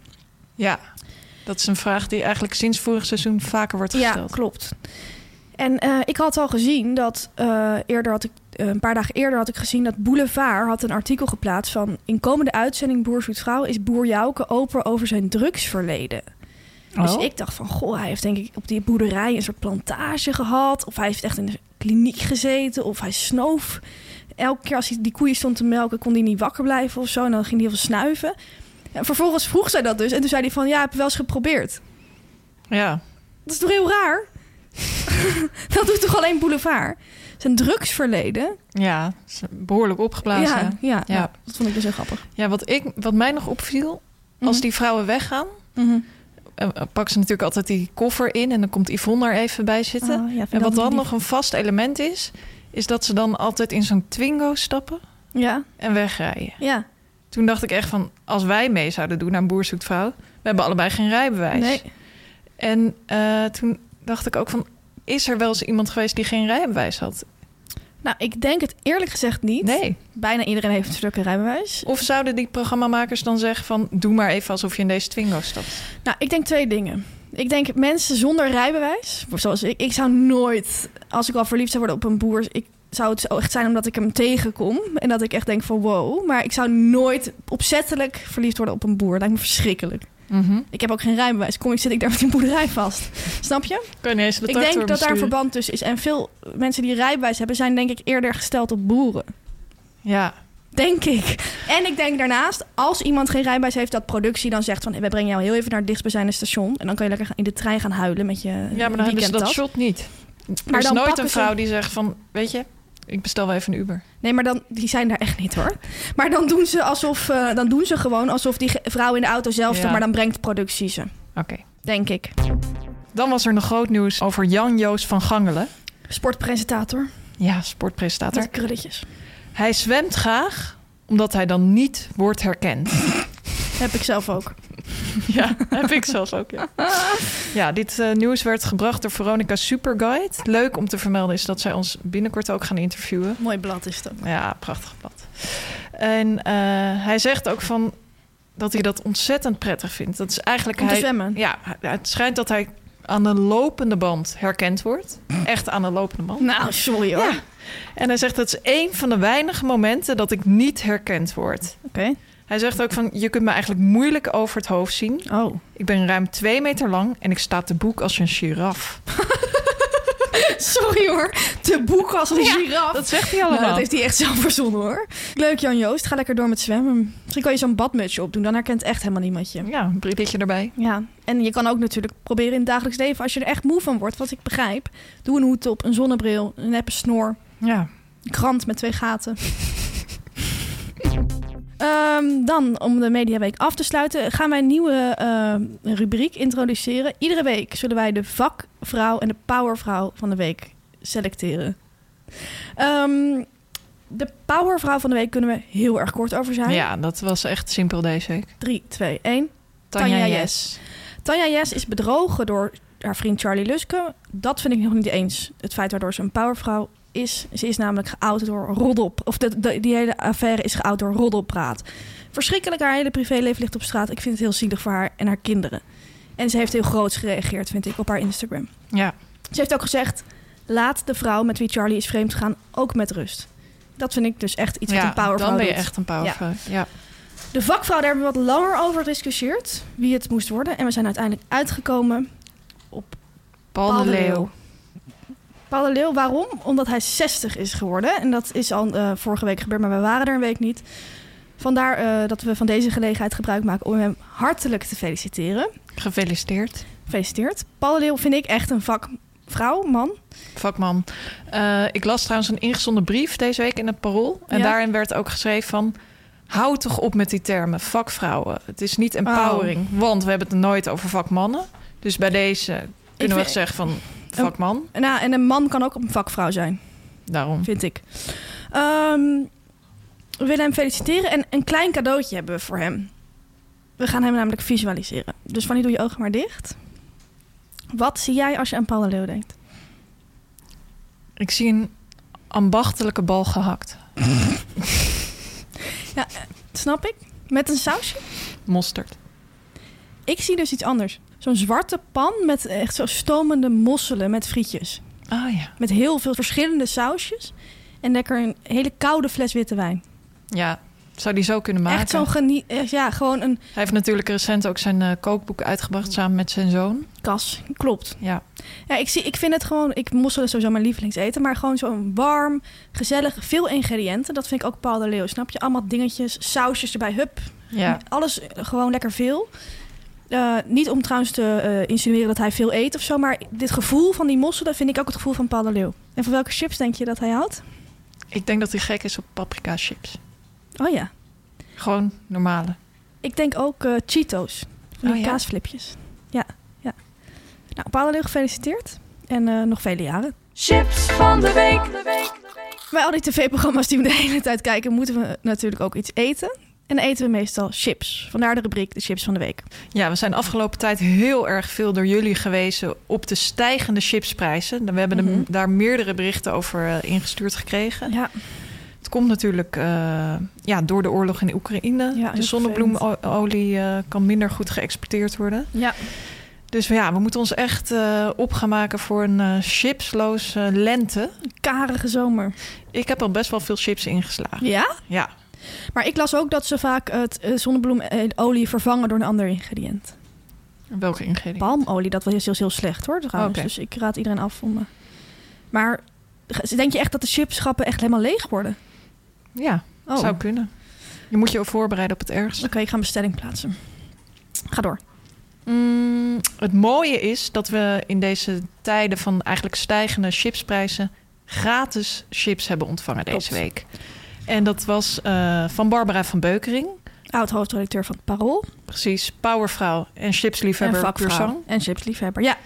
A: Ja, dat is een vraag die eigenlijk sinds vorig seizoen vaker wordt
B: Ja,
A: gesteld.
B: klopt. En eh, ik had al gezien dat eh, eerder had ik eh, een paar dagen eerder had ik gezien dat Boulevard had een artikel geplaatst van in komende uitzending Boer zoekt vrouw is Boer Jouke open over zijn drugsverleden. Dus
A: Oh.
B: ik dacht van, goh, hij heeft denk ik op die boerderij een soort plantage gehad. Of hij heeft echt in de kliniek gezeten. Of hij snoof. Elke keer als hij die koeien stond te melken, kon hij niet wakker blijven of zo. En dan ging hij heel veel snuiven. En vervolgens vroeg zij dat dus. En toen zei hij van, ja, heb je wel eens geprobeerd.
A: Ja,
B: Dat is toch heel raar? dat doet toch alleen Boulevard? Zijn drugsverleden.
A: ja, ze- behoorlijk opgeblazen.
B: ja, Nou, ja,
A: Ja.
B: ja, dat vond ik dus heel grappig.
A: Ja, wat, ik, wat mij nog opviel, Als die vrouwen weggaan,
B: Mhm.
A: eh, pak ze natuurlijk altijd die koffer in en dan komt Yvonne daar even bij zitten.
B: Ah, ja, vind
A: en wat
B: dat
A: dan
B: lief.
A: nog een vast element is, is dat ze dan altijd in zo'n Twingo stappen
B: Ja,
A: en wegrijden.
B: ja.
A: Toen dacht ik echt van, als wij mee zouden doen aan Boer zoekt vrouw, we hebben allebei geen rijbewijs.
B: Nee.
A: En eh, toen dacht ik ook van, is er wel eens iemand geweest die geen rijbewijs had?
B: Nou, ik denk het eerlijk gezegd niet.
A: Nee.
B: Bijna iedereen heeft een stukken rijbewijs.
A: Of zouden die programmamakers dan zeggen van... doe maar even alsof je in deze Twingo stapt?
B: Nou, ik denk twee dingen. Ik denk mensen zonder rijbewijs, zoals ik, ik zou nooit, als ik al verliefd zou worden op een boer, ik zou het zo echt zijn omdat ik hem tegenkom en dat ik echt denk van wow, maar ik zou nooit opzettelijk verliefd worden op een boer. Lijkt me verschrikkelijk. Ik heb ook geen rijbewijs. Kom ik zit ik daar met een boerderij vast. Snap je?
A: Kan je niet eens de
B: Ik
A: tractor
B: denk dat daar een
A: besturen?
B: verband tussen is. En veel mensen die rijbewijs hebben, zijn denk ik eerder gesteld op boeren.
A: Ja,
B: Denk ik. En ik denk daarnaast, als iemand geen rijbewijs heeft, dat productie dan zegt van... "Hey, we brengen jou heel even naar het dichtstbijzijnde station. En dan kan je lekker gaan- in de trein gaan huilen met je
A: ja maar dan hebben ze dat
B: weekendtas."
A: shot niet. Er
B: Maar
A: is
B: dan
A: nooit
B: pakken
A: een
B: ze-
A: vrouw die zegt van... weet je, ik bestel wel even een Uber.
B: Nee, maar dan, die zijn daar echt niet hoor. Maar dan doen ze, alsof, eh, dan doen ze gewoon alsof die ge- vrouw in de auto zelf
A: Ja.
B: doet, maar dan brengt productie ze.
A: Oké.
B: Denk ik.
A: Dan was er nog groot nieuws over Jan-Joos van Gangelen.
B: Sportpresentator.
A: Ja, sportpresentator.
B: Met krulletjes.
A: Hij zwemt graag omdat hij dan niet wordt herkend.
B: Heb ik zelf ook.
A: Ja, heb ik zelfs ook, ja. Ja, dit eh, nieuws werd gebracht door Veronica Superguide. Leuk om te vermelden is dat zij ons binnenkort ook gaan interviewen.
B: Mooi blad is dat.
A: Ja, prachtig blad. En eh, hij zegt ook van dat hij dat ontzettend prettig vindt. Dat is eigenlijk
B: Om te
A: hij,
B: zwemmen?
A: Ja, het schijnt dat hij aan de lopende band herkend wordt. Echt aan de lopende band.
B: Nou, sorry hoor.
A: Ja. En hij zegt dat is één van de weinige momenten dat ik niet herkend word.
B: Oké.
A: Hij zegt ook van je kunt me eigenlijk moeilijk over het hoofd zien.
B: Oh.
A: Ik ben ruim twee meter lang en ik sta te boek als een giraf.
B: Sorry hoor. De boek als een giraf.
A: Dat zegt hij
B: Nou,
A: allemaal.
B: dat heeft hij echt zelf verzonnen hoor. Leuk Jan Joost, ga lekker door met zwemmen. Misschien kan je zo'n badmutsje opdoen, dan herkent echt helemaal niemand je.
A: Ja, een brilletje erbij.
B: Ja, en je kan ook natuurlijk proberen in het dagelijks leven, als je er echt moe van wordt, wat ik begrijp, doe een hoed op, een zonnebril, een neppe snor,
A: Ja.
B: een krant met twee gaten. Ehm, dan, om de Mediaweek af te sluiten, gaan wij een nieuwe ehm, rubriek introduceren. Iedere week zullen wij de vakvrouw en de powervrouw van de week selecteren. Ehm, de powervrouw van de week kunnen we heel erg kort over zijn.
A: ja, dat was echt simpel deze week.
B: 3, 2, 1.
A: Tanja,
B: Tanja
A: Yes.
B: Tanja Jes is bedrogen door haar vriend Charlie Luske. Dat vind ik nog niet eens het feit waardoor ze een powervrouw is. Ze is namelijk geout door Roddop. Of de, de- die hele affaire is geout door Roddelpraat. Verschrikkelijk, haar hele privéleven ligt op straat. Ik vind het heel zielig voor haar en haar kinderen. En ze heeft heel groots gereageerd, vind ik, op haar Instagram.
A: Ja.
B: Ze heeft ook gezegd: laat de vrouw met wie Charlie is vreemd gaan ook met rust. Dat vind ik dus echt iets wat
A: ja,
B: een powervrouw
A: dan ben je
B: doet.
A: echt een powervrouw. Ja.
B: De vakvrouw, daar hebben we wat langer over gediscussieerd. Wie het moest worden. En we zijn uiteindelijk uitgekomen op
A: Paul, de Leeuw.
B: Paul de Leeuw, waarom? Omdat hij 60 is geworden. En dat is al eh, vorige week gebeurd, maar we waren er een week niet. Vandaar eh, dat we van deze gelegenheid gebruik maken om hem hartelijk te feliciteren.
A: Gefeliciteerd.
B: Gefeliciteerd. Paul de Leeuw vind ik echt een vakvrouw, man.
A: Vakman. Eh, ik las trouwens een ingezonden brief deze week in het Parool. En
B: Ja.
A: daarin werd ook geschreven van... Hou toch op met die termen, vakvrouwen. Het is niet empowering, want we hebben het nooit over vakmannen. Dus bij deze kunnen we
B: vind-
A: zeggen van vakman,
B: En, nou, en een man kan ook een vakvrouw zijn,
A: daarom.
B: vind ik. Ehm, we willen hem feliciteren en een klein cadeautje hebben we voor hem. We gaan hem namelijk visualiseren. Dus Fanny, doe je ogen maar dicht. Wat zie jij als je aan Paul de Leeuw denkt?
A: Ik zie een ambachtelijke bal gehakt.
B: Snap ik? Met een sausje?
A: Mosterd.
B: Ik zie dus iets anders. Zo'n zwarte pan met echt zo stomende mosselen met frietjes.
A: Ah ja.
B: Met heel veel verschillende sausjes. En lekker een hele koude fles witte wijn.
A: Ja, zou die zo kunnen maken.
B: Echt zo'n genie... eh, Ja, gewoon een
A: Hij heeft natuurlijk recent ook zijn eh, kookboek uitgebracht samen met zijn zoon.
B: kas. Klopt.
A: Ja,
B: Ja, ik, zie, ik vind het gewoon... Ik mosselen is sowieso mijn lievelingseten. Maar gewoon zo'n warm, gezellig, veel ingrediënten. Dat vind ik ook Paul de Leeuw, snap je? Allemaal dingetjes, sausjes erbij, hup.
A: ja.
B: Alles eh, gewoon lekker veel. Eh, niet om trouwens te eh, insinueren dat hij veel eet of zo, maar dit gevoel van die mosselen vind ik ook het gevoel van Paul de Leeuw. En van welke chips denk je dat hij houdt?
A: Ik denk dat hij gek is op paprika chips.
B: Oh ja.
A: Gewoon normale.
B: Ik Ik denk ook eh, Cheetos. Van
A: Oh
B: die
A: ja?
B: kaasflipjes. Ja, ja. Nou, Paula, heel gefeliciteerd. En eh, nog vele jaren.
C: Chips van de week.
B: Bij al die tv-programma's die we de hele tijd kijken, moeten we natuurlijk ook iets eten. En dan eten we meestal chips. Vandaar de rubriek de chips van de week.
A: Ja, we zijn afgelopen tijd heel erg veel door jullie gewezen op de stijgende chipsprijzen. We hebben er-
B: Mhm.
A: daar meerdere berichten over eh, ingestuurd gekregen.
B: Ja,
A: Het komt natuurlijk eh, ja, door de oorlog in de Oekraïne.
B: Ja,
A: de
B: heel
A: zonnebloemolie eh, kan minder goed geëxporteerd worden.
B: ja.
A: Dus ja, we moeten ons echt eh, op gaan maken voor een eh, chipsloze eh, lente.
B: karige zomer.
A: Ik heb al best wel veel chips ingeslagen.
B: Ja?
A: Ja,
B: Maar ik las ook dat ze vaak het eh, zonnebloemolie vervangen door een ander ingrediënt.
A: welke ingrediënten?
B: Palmolie, dat was heel, heel slecht hoor trouwens.
A: Oké.
B: Dus ik raad iedereen af om... eh, Maar ge- denk je echt dat de chipschappen echt helemaal leeg worden?
A: Ja,
B: Oh,
A: zou
B: oké,
A: kunnen. Je moet je voorbereiden op het ergste.
B: ik ga een bestelling plaatsen. Ga door.
A: Mm, het mooie is dat we in deze tijden van eigenlijk stijgende chipsprijzen gratis chips hebben ontvangen deze
B: Klopt.
A: week. En dat was eh, van Barbara van Beukering,
B: Oud-hoofdredacteur van het Parool.
A: precies powervrouw en
B: En
A: chipsliefhebber
B: vakvrouw.
A: Curzon.
B: En chipsliefhebber. Ja,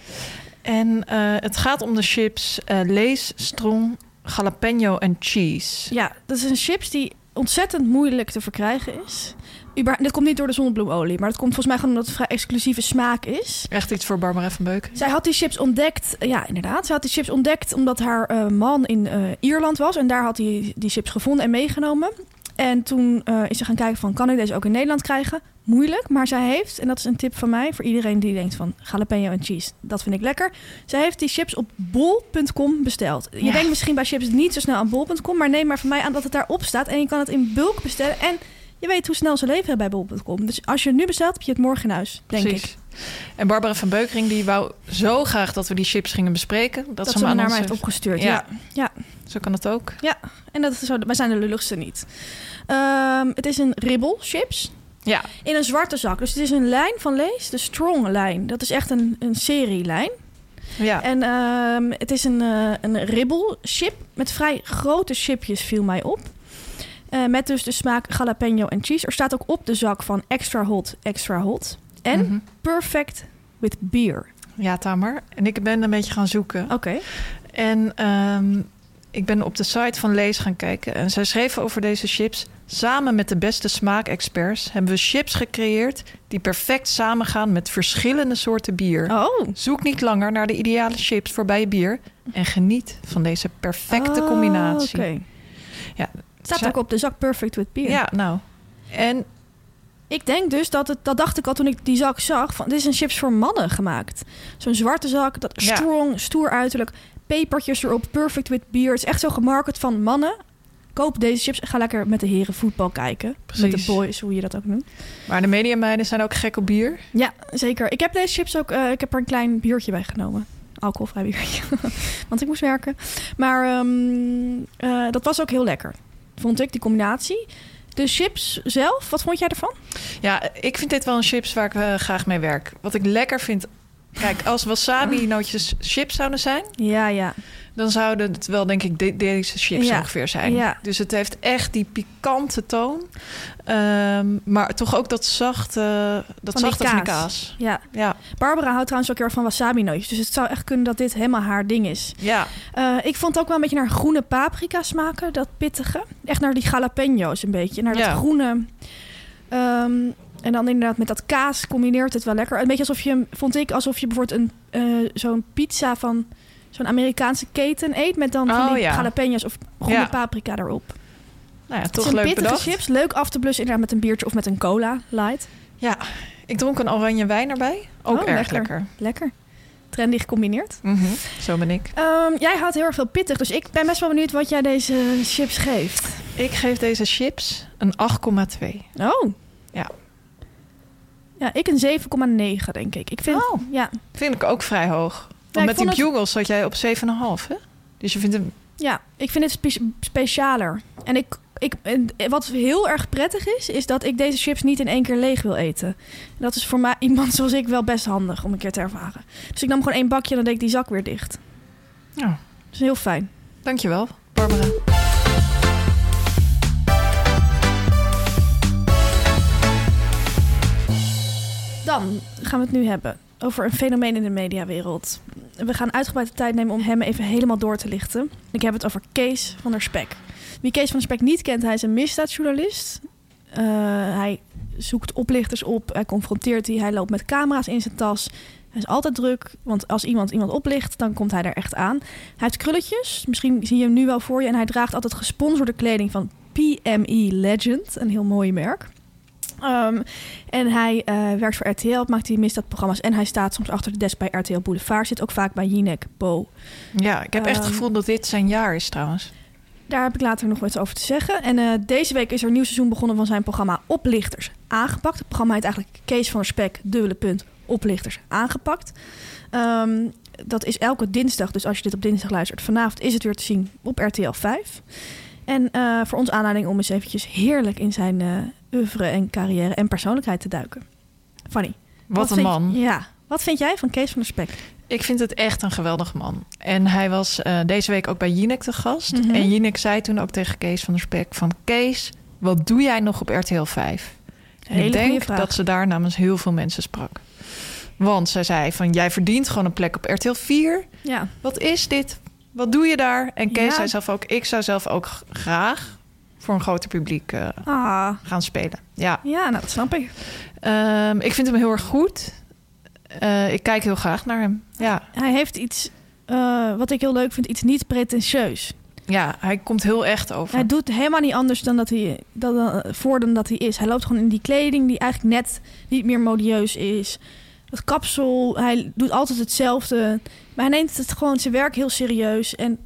A: En eh, het gaat om de chips eh, Lees, Strong, Jalapeno en Cheese.
B: Ja, dat is een chips die ontzettend moeilijk te verkrijgen is. Uber, dit komt niet door de zonnebloemolie, maar dat komt volgens mij gewoon omdat het een vrij exclusieve smaak is.
A: Echt iets voor Barbara van Beukering.
B: Zij had die chips ontdekt, eh, ja inderdaad, zij had die chips ontdekt omdat haar eh, man in eh, Ierland was. En daar had hij die chips gevonden en meegenomen. En toen eh, is ze gaan kijken van, kan ik deze ook in Nederland krijgen? Moeilijk, maar zij heeft, en dat is een tip van mij voor iedereen die denkt van jalapeno en cheese, dat vind ik lekker. Zij heeft die chips op bol.com besteld. Je
A: Ja.
B: denkt misschien bij chips niet zo snel aan bol.com, maar neem maar van mij aan dat het daarop staat. En je kan het in bulk bestellen en je weet hoe snel ze leveren bij bol.com. Dus als je het nu bestelt, heb je het morgen in huis, denk ik.
A: En Barbara van Beukering die wou zo graag dat we die chips gingen bespreken. Dat,
B: Dat,
A: ze hem
B: ze me
A: aan
B: naar
A: ons
B: mij heeft
A: heeft-
B: opgestuurd.
A: Ja.
B: Ja.
A: Zo kan het ook.
B: En dat is zo, wij zijn de lulligste niet. Ehm, het is een ribbel chips
A: Ja,
B: in een zwarte zak. Dus het is een lijn van Lees, de Strong lijn. Dat is echt een, een serielijn.
A: ja.
B: En ehm, het is een, eh, een ribbel chip met vrij grote chipjes viel mij op. Eh, met dus de smaak jalapeno en cheese. Er staat ook op de zak van extra hot, extra hot. En
A: Mhm.
B: perfect with beer.
A: Ja, Tamer. En ik ben een beetje gaan zoeken.
B: Oké.
A: En ehm, ik ben op de site van Lees gaan kijken. En zij schreven over deze chips. Samen met de beste smaakexperts hebben we chips gecreëerd die perfect samengaan met verschillende soorten bier.
B: Oh.
A: Zoek niet langer naar de ideale chips voor bij je bier. En geniet van deze perfecte
B: Oh,
A: combinatie.
B: Oké.
A: Ja.
B: Staat
A: Zij-
B: ook op de zak perfect with beer.
A: Ja, nou. En
B: Ik denk dus dat het, dat dacht ik al toen ik die zak zag. Van, dit is een chips voor mannen gemaakt. Zo'n zwarte zak, dat
A: Ja.
B: strong, stoer uiterlijk. Pepertjes erop, perfect with beer. Het is echt zo gemarket van mannen. Koop deze chips en ga lekker met de heren voetbal kijken. Met
A: Precies.
B: de boys, hoe je dat ook noemt.
A: maar de mediameiden zijn ook gek op bier.
B: Ja, zeker. Ik heb deze chips ook, eh, ik heb er een klein biertje bij genomen. Alcoholvrij biertje. Want ik moest werken. Maar ehm, eh, dat was ook heel lekker. Vond ik, die combinatie. De chips zelf, wat vond jij ervan?
A: Ja, ik vind dit wel een chips waar ik eh, graag mee werk. Wat ik lekker vind. Kijk, als wasabi-nootjes chips zouden zijn,
B: Ja, ja.
A: dan zouden het wel, denk ik, de- deze chips
B: Ja.
A: ongeveer zijn.
B: Ja.
A: Dus het heeft echt die pikante toon. Ehm, maar toch ook dat zachte, dat
B: Van die
A: zachte van die
B: kaas.
A: kaas.
B: Ja,
A: Ja,
B: Barbara houdt trouwens ook heel erg van wasabi-nootjes. Dus het zou echt kunnen dat dit helemaal haar ding is.
A: ja.
B: Eh, ik vond het ook wel een beetje naar groene paprika smaken, dat pittige. Echt naar die jalapeno's een beetje. Naar dat
A: Ja.
B: groene. Ehm, en dan inderdaad met dat kaas combineert het wel lekker. Een beetje alsof je, vond ik, alsof je bijvoorbeeld een, eh, zo'n pizza van zo'n Amerikaanse keten eet. Met dan van
A: Oh,
B: die
A: ja.
B: jalapenos of groene
A: Ja.
B: paprika erop.
A: Nou ja,
B: het
A: toch
B: zijn
A: leuk
B: pittige
A: bedacht.
B: chips. Leuk af te blussen inderdaad met een biertje of met een cola light.
A: Ja, ik dronk een oranje wijn erbij. Ook
B: Oh,
A: erg
B: lekker.
A: lekker.
B: Lekker. Trendy gecombineerd.
A: Mhm, Zo ben ik.
B: Ehm, jij had heel erg veel pittig, dus ik ben best wel benieuwd wat jij deze chips geeft.
A: Ik geef deze chips een 8,2.
B: Oh.
A: Ja.
B: Ja, ik een 7,9 denk ik. Ik vind,
A: Oh.
B: ja,
A: Vind ik ook vrij hoog. Want
B: Ja, ik
A: met die
B: vond het-
A: bugles zat jij op 7,5, hè? Dus je vindt hem...
B: ja, ik vind het spe- specialer. En ik, ik, en wat heel erg prettig is, is dat ik deze chips niet in één keer leeg wil eten. En dat is voor mij, iemand zoals ik wel best handig om een keer te ervaren. Dus ik nam gewoon één bakje en dan deed ik die zak weer dicht.
A: Ja.
B: Dat is heel fijn.
A: Dankjewel, Barbara.
B: Dan gaan we het nu hebben over een fenomeen in de mediawereld. We gaan uitgebreid de tijd nemen om hem even helemaal door te lichten. Ik heb het over Kees van der Spek. Wie Kees van der Spek niet kent, hij is een misdaadjournalist. Eh, hij zoekt oplichters op, hij confronteert die, hij loopt met camera's in zijn tas. Hij is altijd druk, want als iemand iemand oplicht, dan komt hij er echt aan. Hij heeft krulletjes, misschien zie je hem nu wel voor je. En hij draagt altijd gesponsorde kleding van PME Legend, een heel mooi merk. Ehm, en hij eh, werkt voor RTL, maakt die misdaadprogramma's. En hij staat soms achter de desk bij RTL Boulevard. Zit ook vaak bij Jinek, Bo.
A: Ja, ik heb echt het
B: Ehm.
A: gevoel dat dit zijn jaar is trouwens.
B: Daar heb ik later nog wat over te zeggen. En eh, deze week is er een nieuw seizoen begonnen van zijn programma Oplichters Aangepakt. Het programma heet eigenlijk Kees van der Spek, dubbele punt, Oplichters Aangepakt. Ehm, dat is elke dinsdag, dus als je dit op dinsdag luistert, vanavond is het weer te zien op RTL 5. En eh, voor ons aanleiding om eens eventjes heerlijk in zijn eh oeuvre en carrière en persoonlijkheid te duiken. Fanny.
A: Wat, een
B: vind-
A: man.
B: ja. Wat vind jij van Kees van der Spek?
A: Ik vind het echt een geweldig man. En hij was eh, deze week ook bij Jinek te gast.
B: Mhm.
A: En Jinek zei toen ook tegen Kees van der Spek van... Kees, wat doe jij nog op RTL 5? En
B: Hele
A: ik
B: goede
A: denk
B: vraag.
A: dat ze daar namens heel veel mensen sprak. Want zij zei van, jij verdient gewoon een plek op RTL 4.
B: Ja.
A: Wat is dit? Wat doe je daar? En Kees
B: Ja.
A: zei zelf ook, ik zou zelf ook g- graag voor een groter publiek eh,
B: Ah,
A: gaan spelen. Ja.
B: ja, nou, dat snap ik.
A: Ehm, ik vind hem heel erg goed. Eh, ik kijk heel graag naar hem. Ja.
B: hij heeft iets, eh, wat ik heel leuk vind, iets niet pretentieus.
A: Ja, hij komt heel echt over.
B: Hij doet helemaal niet anders dan dat hij, dan, dan- voor dan dat hij is. Hij loopt gewoon in die kleding die eigenlijk net niet meer modieus is. Het kapsel, hij doet altijd hetzelfde. Maar hij neemt het gewoon zijn werk heel serieus en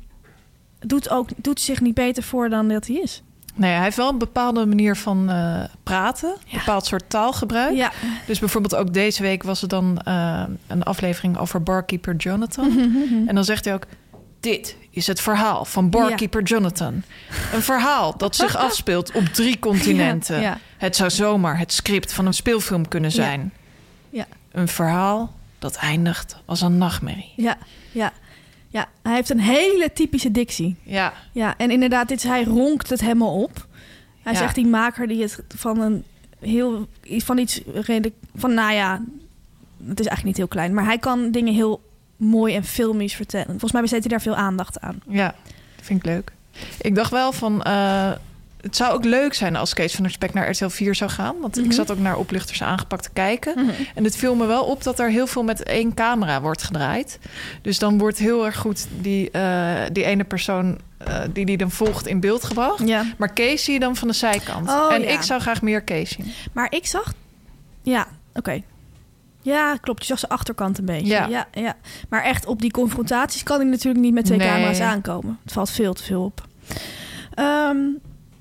B: doet, ook, doet zich niet beter voor dan dat hij is.
A: Nee, hij heeft wel een bepaalde manier van eh, praten. Een
B: Ja.
A: bepaald soort taalgebruik.
B: Ja,
A: Dus bijvoorbeeld ook deze week was er dan eh, een aflevering over barkeeper Jonathan. En dan zegt hij ook... Dit is het verhaal van barkeeper Jonathan. Een verhaal dat zich afspeelt op drie continenten.
B: Ja, ja.
A: Het zou zomaar het script van een speelfilm kunnen
B: Ja.
A: zijn.
B: Ja.
A: Een verhaal dat eindigt als een nachtmerrie.
B: ja, ja. ja. Hij heeft een hele typische dictie.
A: Ja,
B: Ja, en inderdaad, dit is, hij ronkt het helemaal op. Hij
A: Ja.
B: zegt die maker die het van een heel van iets redelijk van nou ja, het is eigenlijk niet heel klein, maar hij kan dingen heel mooi en filmisch vertellen. Volgens mij besteedt hij daar veel aandacht aan.
A: Ja, vind ik leuk. Ik dacht wel van. eh, het zou ook leuk zijn als Kees van der Spek naar RTL 4 zou gaan. Want ik zat ook naar Oplichters aangepakt te kijken. En het viel me wel op dat er heel veel met één camera wordt gedraaid. Dus dan wordt heel erg goed die, eh, die ene persoon eh, die die dan volgt in beeld gebracht.
B: Ja.
A: Maar Kees zie je dan van de zijkant.
B: Oh,
A: en
B: ja.
A: ik zou graag meer Kees zien.
B: Maar ik zag, ja, oké. Ja, klopt. Je zag zijn achterkant een beetje.
A: Ja.
B: Ja. Ja, Maar echt op die confrontaties kan hij natuurlijk niet met twee
A: Nee.
B: camera's aankomen. Het valt veel te veel op. Ehm,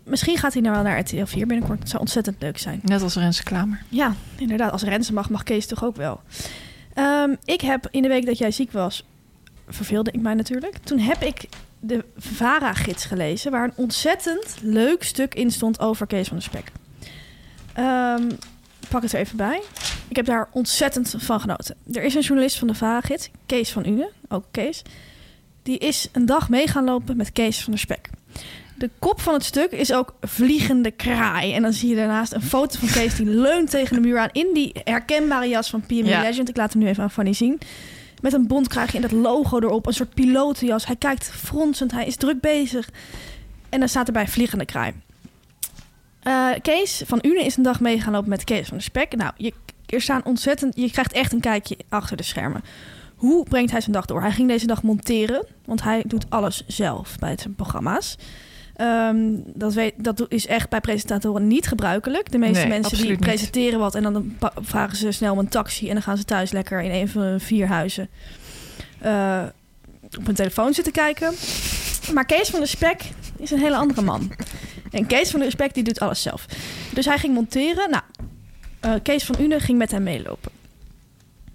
B: misschien gaat hij nou wel naar RTL 4 binnenkort. Het zou ontzettend leuk zijn.
A: Net als Renze Klamer.
B: Ja, inderdaad. Als Rensen mag, mag Kees toch ook wel. Ehm, ik heb in de week dat jij ziek was, verveelde ik mij natuurlijk. Toen heb ik de VARA-gids gelezen, waar een ontzettend leuk stuk in stond over Kees van der Spek. Ehm, ik pak het er even bij. Ik heb daar ontzettend van genoten. Er is een journalist van de VARA-gids, Kees van Une, ook Kees. Die is een dag mee gaan lopen met Kees van der Spek. De kop van het stuk is ook vliegende kraai. En dan zie je daarnaast een foto van Kees die leunt tegen de muur aan... in die herkenbare jas van PME
A: Ja.
B: Legend. Ik laat hem nu even aan Fanny zien. Met een bondkraagje en dat logo erop. Een soort pilotenjas. Hij kijkt fronsend. Hij is druk bezig. En dan staat erbij vliegende kraai. Eh, Kees van Une is een dag mee gaan lopen met Kees van de Spek. Nou, je, er staan ontzettend, je krijgt echt een kijkje achter de schermen. Hoe brengt hij zijn dag door? Hij ging deze dag monteren, want hij doet alles zelf bij zijn programma's. Ehm, dat, weet, dat do- is echt bij presentatoren niet gebruikelijk. De meeste
A: Nee,
B: mensen die
A: absoluut niet.
B: presenteren wat en dan pa- vragen ze snel om een taxi en dan gaan ze thuis lekker in een van hun vier huizen eh, op hun telefoon zitten kijken. Maar Kees van de Spek is een hele andere man. En Kees van de Spek die doet alles zelf. Dus hij ging monteren. Nou, eh, Kees van Une ging met hem meelopen.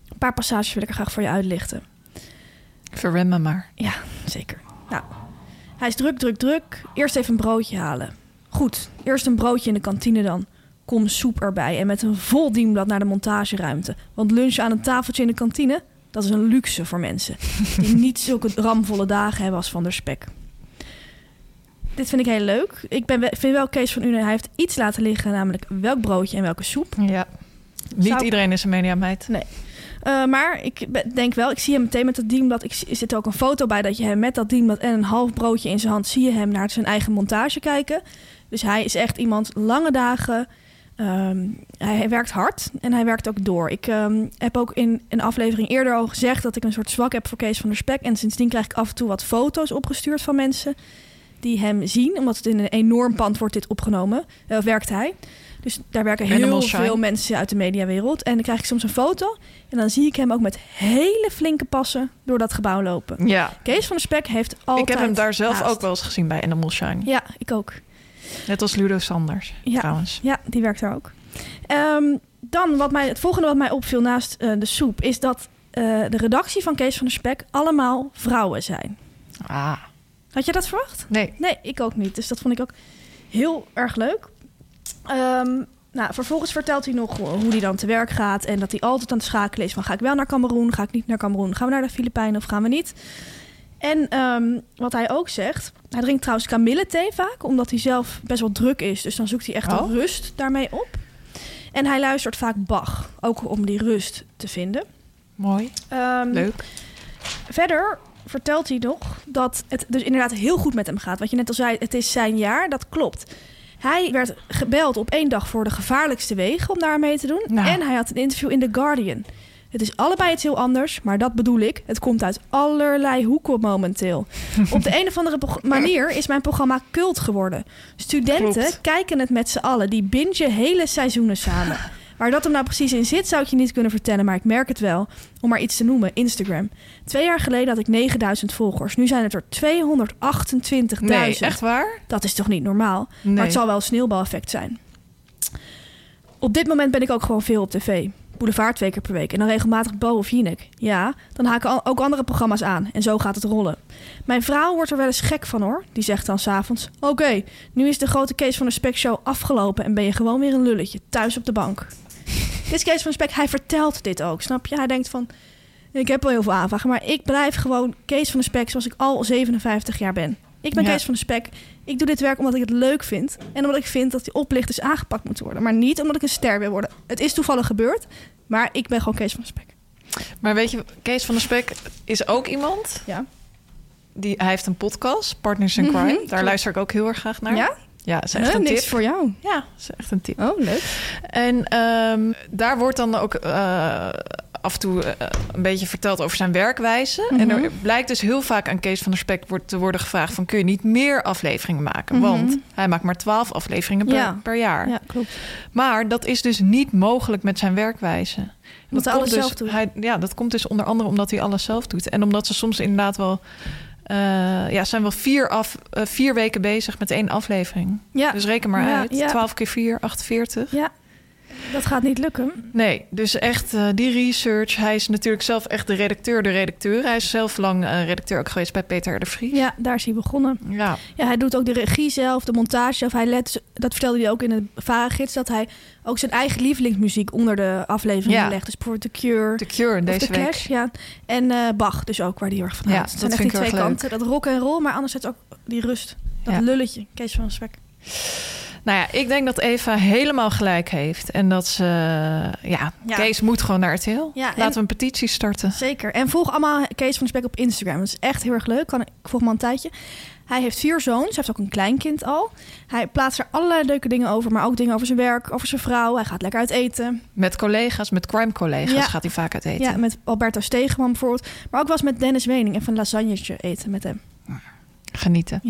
B: Een paar passages wil ik er graag voor je uitlichten.
A: Verwem me maar.
B: Ja, zeker. Nou, hij is druk, druk, druk. Eerst even een broodje halen. Goed, eerst een broodje in de kantine dan. Kom soep erbij en met een vol dienblad naar de montageruimte. Want lunchen aan een tafeltje in de kantine, dat is een luxe voor mensen. Die niet zulke ramvolle dagen hebben als Van der Spek. Dit vind ik heel leuk. Ik ben, vind wel Kees van Une, hij heeft iets laten liggen, namelijk welk broodje en welke soep.
A: Ja. Niet
B: Zou-
A: iedereen is een mediameid.
B: Eh, maar ik be- denk wel, ik zie hem meteen met dat dienblad. Ik, zie- er zit ook een foto bij dat je hem met dat dienblad en een half broodje in zijn hand... zie je hem naar zijn eigen montage kijken. Dus hij is echt iemand lange dagen. ehm, hij, hij werkt hard en hij werkt ook door. Ik ehm, heb ook in een aflevering eerder al gezegd... dat ik een soort zwak heb voor Kees van der Spek. En sindsdien krijg ik af en toe wat foto's opgestuurd van mensen... die hem zien, omdat het in een enorm pand wordt dit opgenomen. eh, werkt hij. Dus daar werken heel
A: Animal Shine.
B: veel mensen uit de mediawereld. En dan krijg ik soms een foto... En dan zie ik hem ook met hele flinke passen door dat gebouw lopen.
A: Ja.
B: Kees van der Spek heeft altijd
A: Ik heb hem daar zelf
B: haast.
A: ook wel eens gezien bij Animal Shine.
B: Ja, ik ook.
A: Net als Ludo Sanders,
B: Ja.
A: trouwens.
B: Ja, die werkt daar ook. Ehm, dan, wat mij, het volgende wat mij opviel naast eh, de soep... is dat eh, de redactie van Kees van der Spek allemaal vrouwen zijn.
A: Ah,
B: Had je dat verwacht?
A: nee.
B: Nee, ik ook niet. Dus dat vond ik ook heel erg leuk. Ehm, nou, vervolgens vertelt hij nog hoe hoe hij dan te werk gaat. En dat hij altijd aan het schakelen is van ga ik wel naar Cameroen, ga ik niet naar Cameroen. Gaan we naar de Filipijnen of gaan we niet? En ehm, wat hij ook zegt, hij drinkt trouwens kamillethee vaak, omdat hij zelf best wel druk is. Dus dan zoekt hij echt
A: Oh.
B: al rust daarmee op. En hij luistert vaak Bach, ook om die rust te vinden.
A: Mooi,
B: Ehm,
A: leuk.
B: Verder vertelt hij nog dat het dus inderdaad heel goed met hem gaat. Wat je net al zei, het is zijn jaar, dat klopt. Hij werd gebeld op één dag voor de gevaarlijkste wegen om daar mee te doen.
A: Nou.
B: En hij had een interview in The Guardian. Het is allebei iets heel anders, maar dat bedoel ik. Het komt uit allerlei hoeken momenteel. Op de een of andere prog- manier is mijn programma cult geworden. Studenten
A: Klopt.
B: kijken het met z'n allen. Die bingen hele seizoenen samen. Waar dat hem nou precies in zit, zou ik je niet kunnen vertellen. Maar ik merk het wel. Om maar iets te noemen, Instagram. Twee jaar geleden had ik 9000 volgers. Nu zijn het er 228.000.
A: Nee, echt waar?
B: Dat is toch niet normaal?
A: Nee.
B: Maar het zal wel een sneeuwbaleffect zijn. Op dit moment ben ik ook gewoon veel op tv. Boulevard twee keer per week. En dan regelmatig Bo of Jinek. Ja, dan haken al- ook andere programma's aan. En zo gaat het rollen. Mijn vrouw wordt er wel eens gek van hoor. Die zegt dan s'avonds... Oké, nu is de grote Kees van de Spek show afgelopen... en ben je gewoon weer een lulletje. Thuis op de bank. Dit is Kees van de Spek. Hij vertelt dit ook, snap je? Hij denkt van... Ik heb wel heel veel aanvragen, maar ik blijf gewoon Kees van de Spek... zoals ik al 57 jaar ben. Ik ben
A: Ja.
B: Kees van de Spek. Ik doe dit werk omdat ik het leuk vind. En omdat ik vind dat die oplichters aangepakt moeten worden. Maar niet omdat ik een ster wil worden. Het is toevallig gebeurd, maar ik ben gewoon Kees van de Spek.
A: Maar weet je, Kees van der Spek is ook iemand...
B: Ja.
A: Die, hij heeft een podcast, Partners in Crime. Daar
B: Mhm, klopt.
A: luister ik ook heel erg graag naar.
B: Ja?
A: Ja, is echt
B: Huh,
A: een tip.
B: niks voor jou.
A: Ja, is echt een tip.
B: Oh, leuk.
A: En ehm, daar wordt dan ook eh, af en toe eh, een beetje verteld over zijn werkwijze.
B: Mhm.
A: En er blijkt dus heel vaak aan Kees van der Spek wordt, te worden gevraagd... van kun je niet meer afleveringen maken? Want hij maakt maar twaalf afleveringen per,
B: Mhm. Ja.
A: per jaar.
B: Ja, klopt.
A: Maar dat is dus niet mogelijk met zijn werkwijze. En
B: Omdat hij
A: komt
B: alles
A: dus-
B: zelf doet.
A: hij- ja, dat komt dus onder andere omdat hij alles zelf doet. En omdat ze soms inderdaad wel... eh, ja, zijn wel vier, af, eh, vier weken bezig met één aflevering.
B: Ja.
A: Dus reken maar
B: Ja,
A: uit.
B: ja.
A: 12 keer 4, 48.
B: Ja, dat gaat niet lukken.
A: Nee, dus echt eh, die research. Hij is natuurlijk zelf echt de redacteur, de redacteur. Hij is zelf lang eh, redacteur ook geweest bij Peter R. de Vries.
B: Ja, daar is hij begonnen.
A: Ja.
B: Ja, hij doet ook de regie zelf, de montage zelf. Hij let, dat vertelde hij ook in de Varengids, dat hij ook zijn eigen lievelingsmuziek onder de aflevering
A: Ja.
B: legt. Dus bijvoorbeeld The Cure,
A: The Cure
B: of
A: deze
B: The
A: week.
B: Clash, ja. En eh, Bach dus ook, waar hij heel erg van
A: Ja,
B: houdt. Het zijn
A: dat
B: echt die
A: vind ik
B: twee
A: heel erg
B: kanten. Dat rock en roll, maar anderzijds ook die rust. Dat
A: Ja.
B: lulletje, Kees van Spek.
A: Nou ja, ik denk dat Eva helemaal gelijk heeft. En dat ze... eh, ja,
B: Ja.
A: Kees moet gewoon naar RTL.
B: Ja, en-
A: Laten we een petitie starten.
B: Zeker. En volg allemaal Kees van de Spek op Instagram. Dat is echt heel erg leuk. Kan, ik volg hem al een tijdje. Hij heeft vier zoons. Hij heeft ook een kleinkind al. Hij plaatst er allerlei leuke dingen over. Maar ook dingen over zijn werk, over zijn vrouw. Hij gaat lekker uit eten.
A: Met collega's, met crime-collega's
B: Ja.
A: gaat hij vaak uit eten.
B: Ja, met Alberto Stegeman bijvoorbeeld. Maar ook wel eens met Dennis Wening. En van lasagnetje eten met hem.
A: Genieten.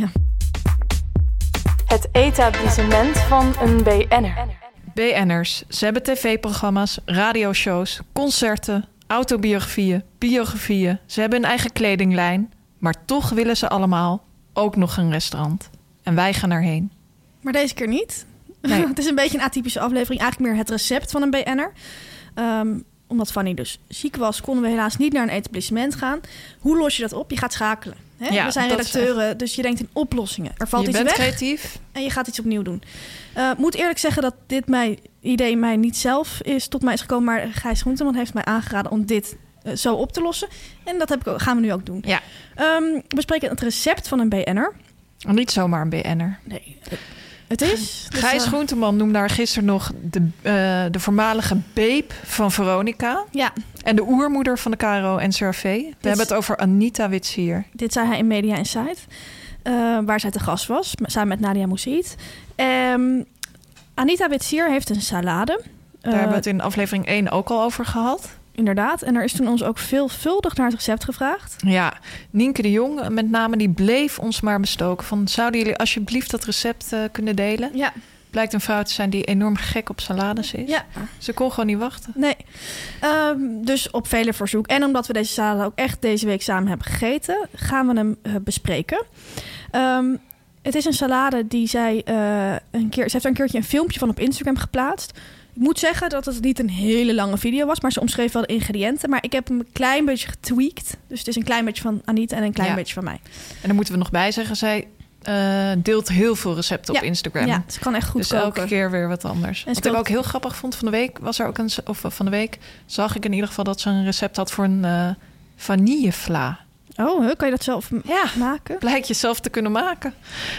C: Het etablissement van een BN'er.
A: BN'ers, ze hebben tv-programma's, radioshows, concerten, autobiografieën, biografieën. Ze hebben een eigen kledinglijn, maar toch willen ze allemaal ook nog een restaurant. En wij gaan erheen.
B: Maar deze keer niet.
A: Nee.
B: het is een beetje een atypische aflevering. Eigenlijk meer het recept van een BN'er. Ehm, omdat Fanny dus ziek was, konden we helaas niet naar een etablissement gaan. Hoe los je dat op? Je gaat schakelen. Hè?
A: Ja,
B: we zijn
A: dat is
B: redacteuren, dus je denkt in oplossingen. Er valt
A: je
B: iets
A: bent
B: weg
A: creatief.
B: en je gaat iets opnieuw doen. Eh moet eerlijk zeggen dat dit mijn idee mij niet zelf is tot mij is gekomen, maar Gijs Groenteman heeft mij aangeraden om dit eh, zo op te lossen. En dat heb ik, ook- gaan we nu ook doen.
A: Ja.
B: Ehm, we bespreken het recept van een BN'er.
A: Niet zomaar een BN'er.
B: Nee, Het is? dus,
A: Gijs
B: eh,
A: Groenteman noemde haar gisteren nog de, eh, de voormalige beep van Veronica.
B: Ja,
A: En de oermoeder van de KRO en CRV. We hebben het over Anita Witsier.
B: Dit zei hij in Media Insight, eh, waar zij te gast was, m- samen met Nadia Moussaïd. Ehm, Anita Witsier heeft een salade.
A: Daar
B: Eh,
A: hebben we het in aflevering 1 ook al over gehad.
B: Inderdaad, en er is toen ons ook veelvuldig naar het recept gevraagd.
A: Ja, Nienke de Jong met name, die bleef ons maar bestoken. Van, zouden jullie alsjeblieft dat recept eh, kunnen delen?
B: Ja,
A: Blijkt een vrouw te zijn die enorm gek op salades is.
B: ja
A: Ze kon gewoon niet wachten.
B: nee. Ehm, dus op vele verzoek. En omdat we deze salade ook echt deze week samen hebben gegeten, gaan we hem eh, bespreken. Ehm, het is een salade die zij eh, een keer. Ze heeft er een keertje een filmpje van op Instagram geplaatst. Ik moet zeggen dat het niet een hele lange video was, maar ze omschreef wel de ingrediënten. Maar ik heb hem een klein beetje getweakt. Dus het is een klein beetje van Anita en een klein
A: Ja.
B: beetje van mij.
A: En dan moeten we nog bij zeggen, zij eh, deelt heel veel recepten
B: Ja,
A: op Instagram.
B: Ja, ze kan echt goed
A: dus
B: koken.
A: elke keer weer wat anders.
B: En ze
A: wat ik
B: kookt-
A: ook heel grappig vond van de week, was er ook een, of eh, van de week zag ik in ieder geval dat ze een recept had voor een eh, vanillevla.
B: Oh, huh, kan je dat zelf m-
A: Ja,
B: maken?
A: blijkt je zelf te kunnen maken.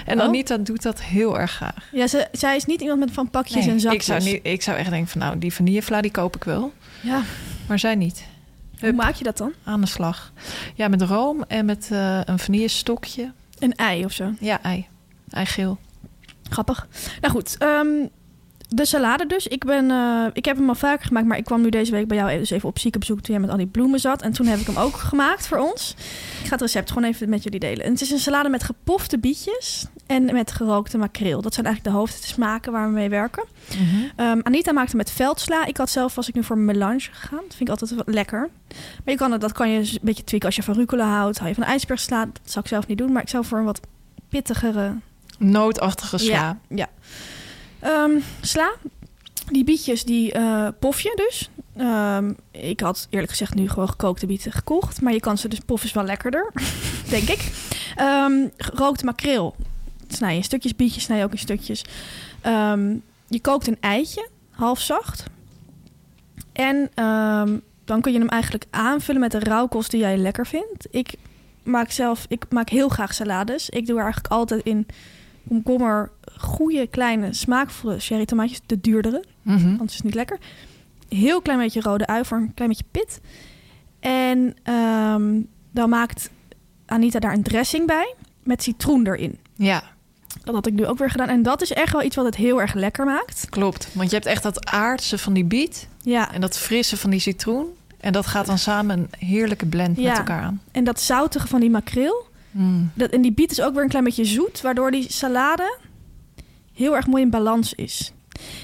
A: En
B: Oh.
A: Anita doet dat heel erg graag.
B: Ja, ze, zij is niet iemand met van pakjes en
A: ik,
B: zakjes.
A: zou niet, ik zou echt denken van nou, die vanillevla die koop ik wel,
B: Ja,
A: maar zij niet.
B: hoe maak je dat dan?
A: Aan de slag. Ja, met room en met eh, een vanillestokje.
B: Een ei of zo.
A: Ja, ei. Eigeel.
B: Grappig. Nou goed, ehm, de salade dus. Ik, ben, eh, ik heb hem al vaker gemaakt, maar ik kwam nu deze week bij jou dus even op ziekenbezoek toen jij met al die bloemen zat. En toen heb ik hem ook gemaakt voor ons. Ik ga het recept gewoon even met jullie delen. En het is een salade met gepofte bietjes en met gerookte makreel. Dat zijn eigenlijk de hoofdsmaken waar we mee werken. Ehm, Anita maakte met veldsla. Ik had zelf, was ik nu voor melange gegaan. Dat vind ik altijd wel lekker. Maar je kan, het- dat kan je dus een beetje tweaken als je van rucola houdt. Hou je van ijsbergsla. Dat zou ik zelf niet doen, maar ik zou voor een wat pittigere
A: Noodachtige sla.
B: ja. Ehm, sla. Die bietjes, die eh, pof je dus. Ehm, ik had eerlijk gezegd nu gewoon gekookte bieten gekocht. Maar je kan ze dus pof is wel lekkerder, denk ik. Ehm gerookte makreel. Snij je in stukjes, bietjes snij je ook in stukjes. Ehm, je kookt een eitje, half zacht. En ehm, dan kun je hem eigenlijk aanvullen met de rauwkost die jij lekker vindt. Ik maak zelf, ik maak heel graag salades. Ik doe er eigenlijk altijd in komkommer, goede kleine smaakvolle sherry tomaatjes, de duurdere,
A: Mhm.
B: want het is niet lekker. Heel klein beetje rode ui voor een klein beetje pit. En ehm, dan maakt Anita daar een dressing bij met citroen erin.
A: Ja,
B: Dat had ik nu ook weer gedaan. En dat is echt wel iets wat het heel erg lekker maakt.
A: klopt. Want je hebt echt dat aardse van die biet
B: Ja,
A: en dat frisse van die citroen. En dat gaat dan samen een heerlijke blend
B: Ja.
A: met elkaar aan. Mm.
B: en dat zoutige van die makreel. Dat, en die biet is ook weer een klein beetje zoet, waardoor die salade heel erg mooi in balans is.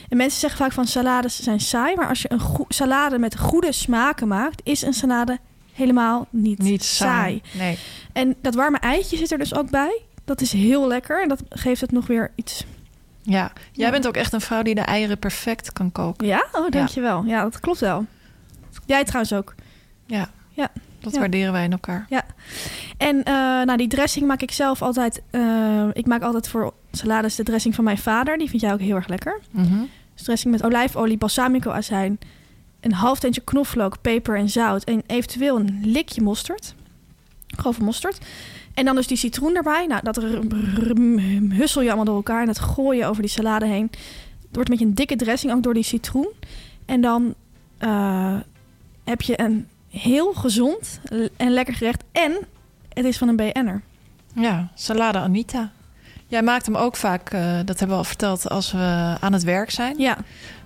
B: En mensen zeggen vaak van salades zijn saai, maar als je een goe- salade met goede smaken maakt, is een salade helemaal niet,
A: Niet saai. Nee.
B: En dat warme eitje zit er dus ook bij. Dat is heel lekker en dat geeft het nog weer iets.
A: Ja. Jij
B: Ja.
A: bent ook echt een vrouw die de eieren perfect kan koken.
B: Ja, oh, dankjewel. Ja, dat klopt wel. Jij trouwens ook.
A: Ja.
B: Ja.
A: Dat
B: Ja.
A: waarderen wij in elkaar.
B: En eh, nou, die dressing maak ik zelf altijd. eh, ik maak altijd voor salades de dressing van mijn vader. Die vind jij ook heel erg lekker.
A: Mhm.
B: Dus dressing met olijfolie, balsamicoazijn, een half teentje knoflook, peper en zout en eventueel een likje mosterd. Grove mosterd. En dan dus die citroen erbij. Nou, dat r- r- r- hussel je allemaal door elkaar en dat gooi je over die salade heen. Het wordt een beetje een dikke dressing, ook door die citroen. En dan eh, heb je een heel gezond en lekker gerecht. En het is van een BN'er.
A: Ja, salade Anita. Jij maakt hem ook vaak, eh, dat hebben we al verteld, als we aan het werk zijn.
B: Ja,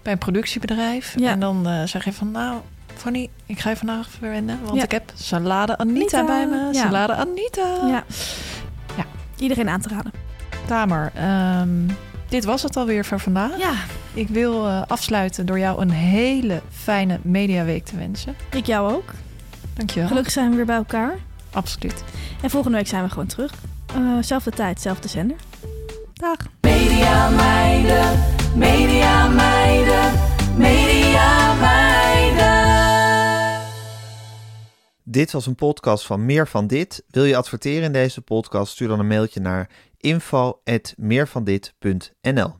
A: bij een productiebedrijf.
B: Ja.
A: En dan eh, zeg je van, nou, Fanny, ik ga je vandaag verwennen. Want
B: Ja.
A: ik heb salade Anita,
B: Anita.
A: bij me.
B: Ja.
A: Salade Anita.
B: ja.
A: Ja.
B: Iedereen aan te raden.
A: Tamer, ehm, dit was het alweer voor vandaag.
B: Ja,
A: Ik wil eh, afsluiten door jou een hele fijne mediaweek te wensen.
B: ik jou ook.
A: Dankjewel.
B: Gelukkig zijn we weer bij elkaar.
A: Absoluut.
B: En volgende week zijn we gewoon terug. Eh, zelfde tijd, zelfde zender. Dag.
D: Dit was een podcast van Meer van Dit. Wil je adverteren in deze podcast? Stuur dan een mailtje naar info.meervandit.nl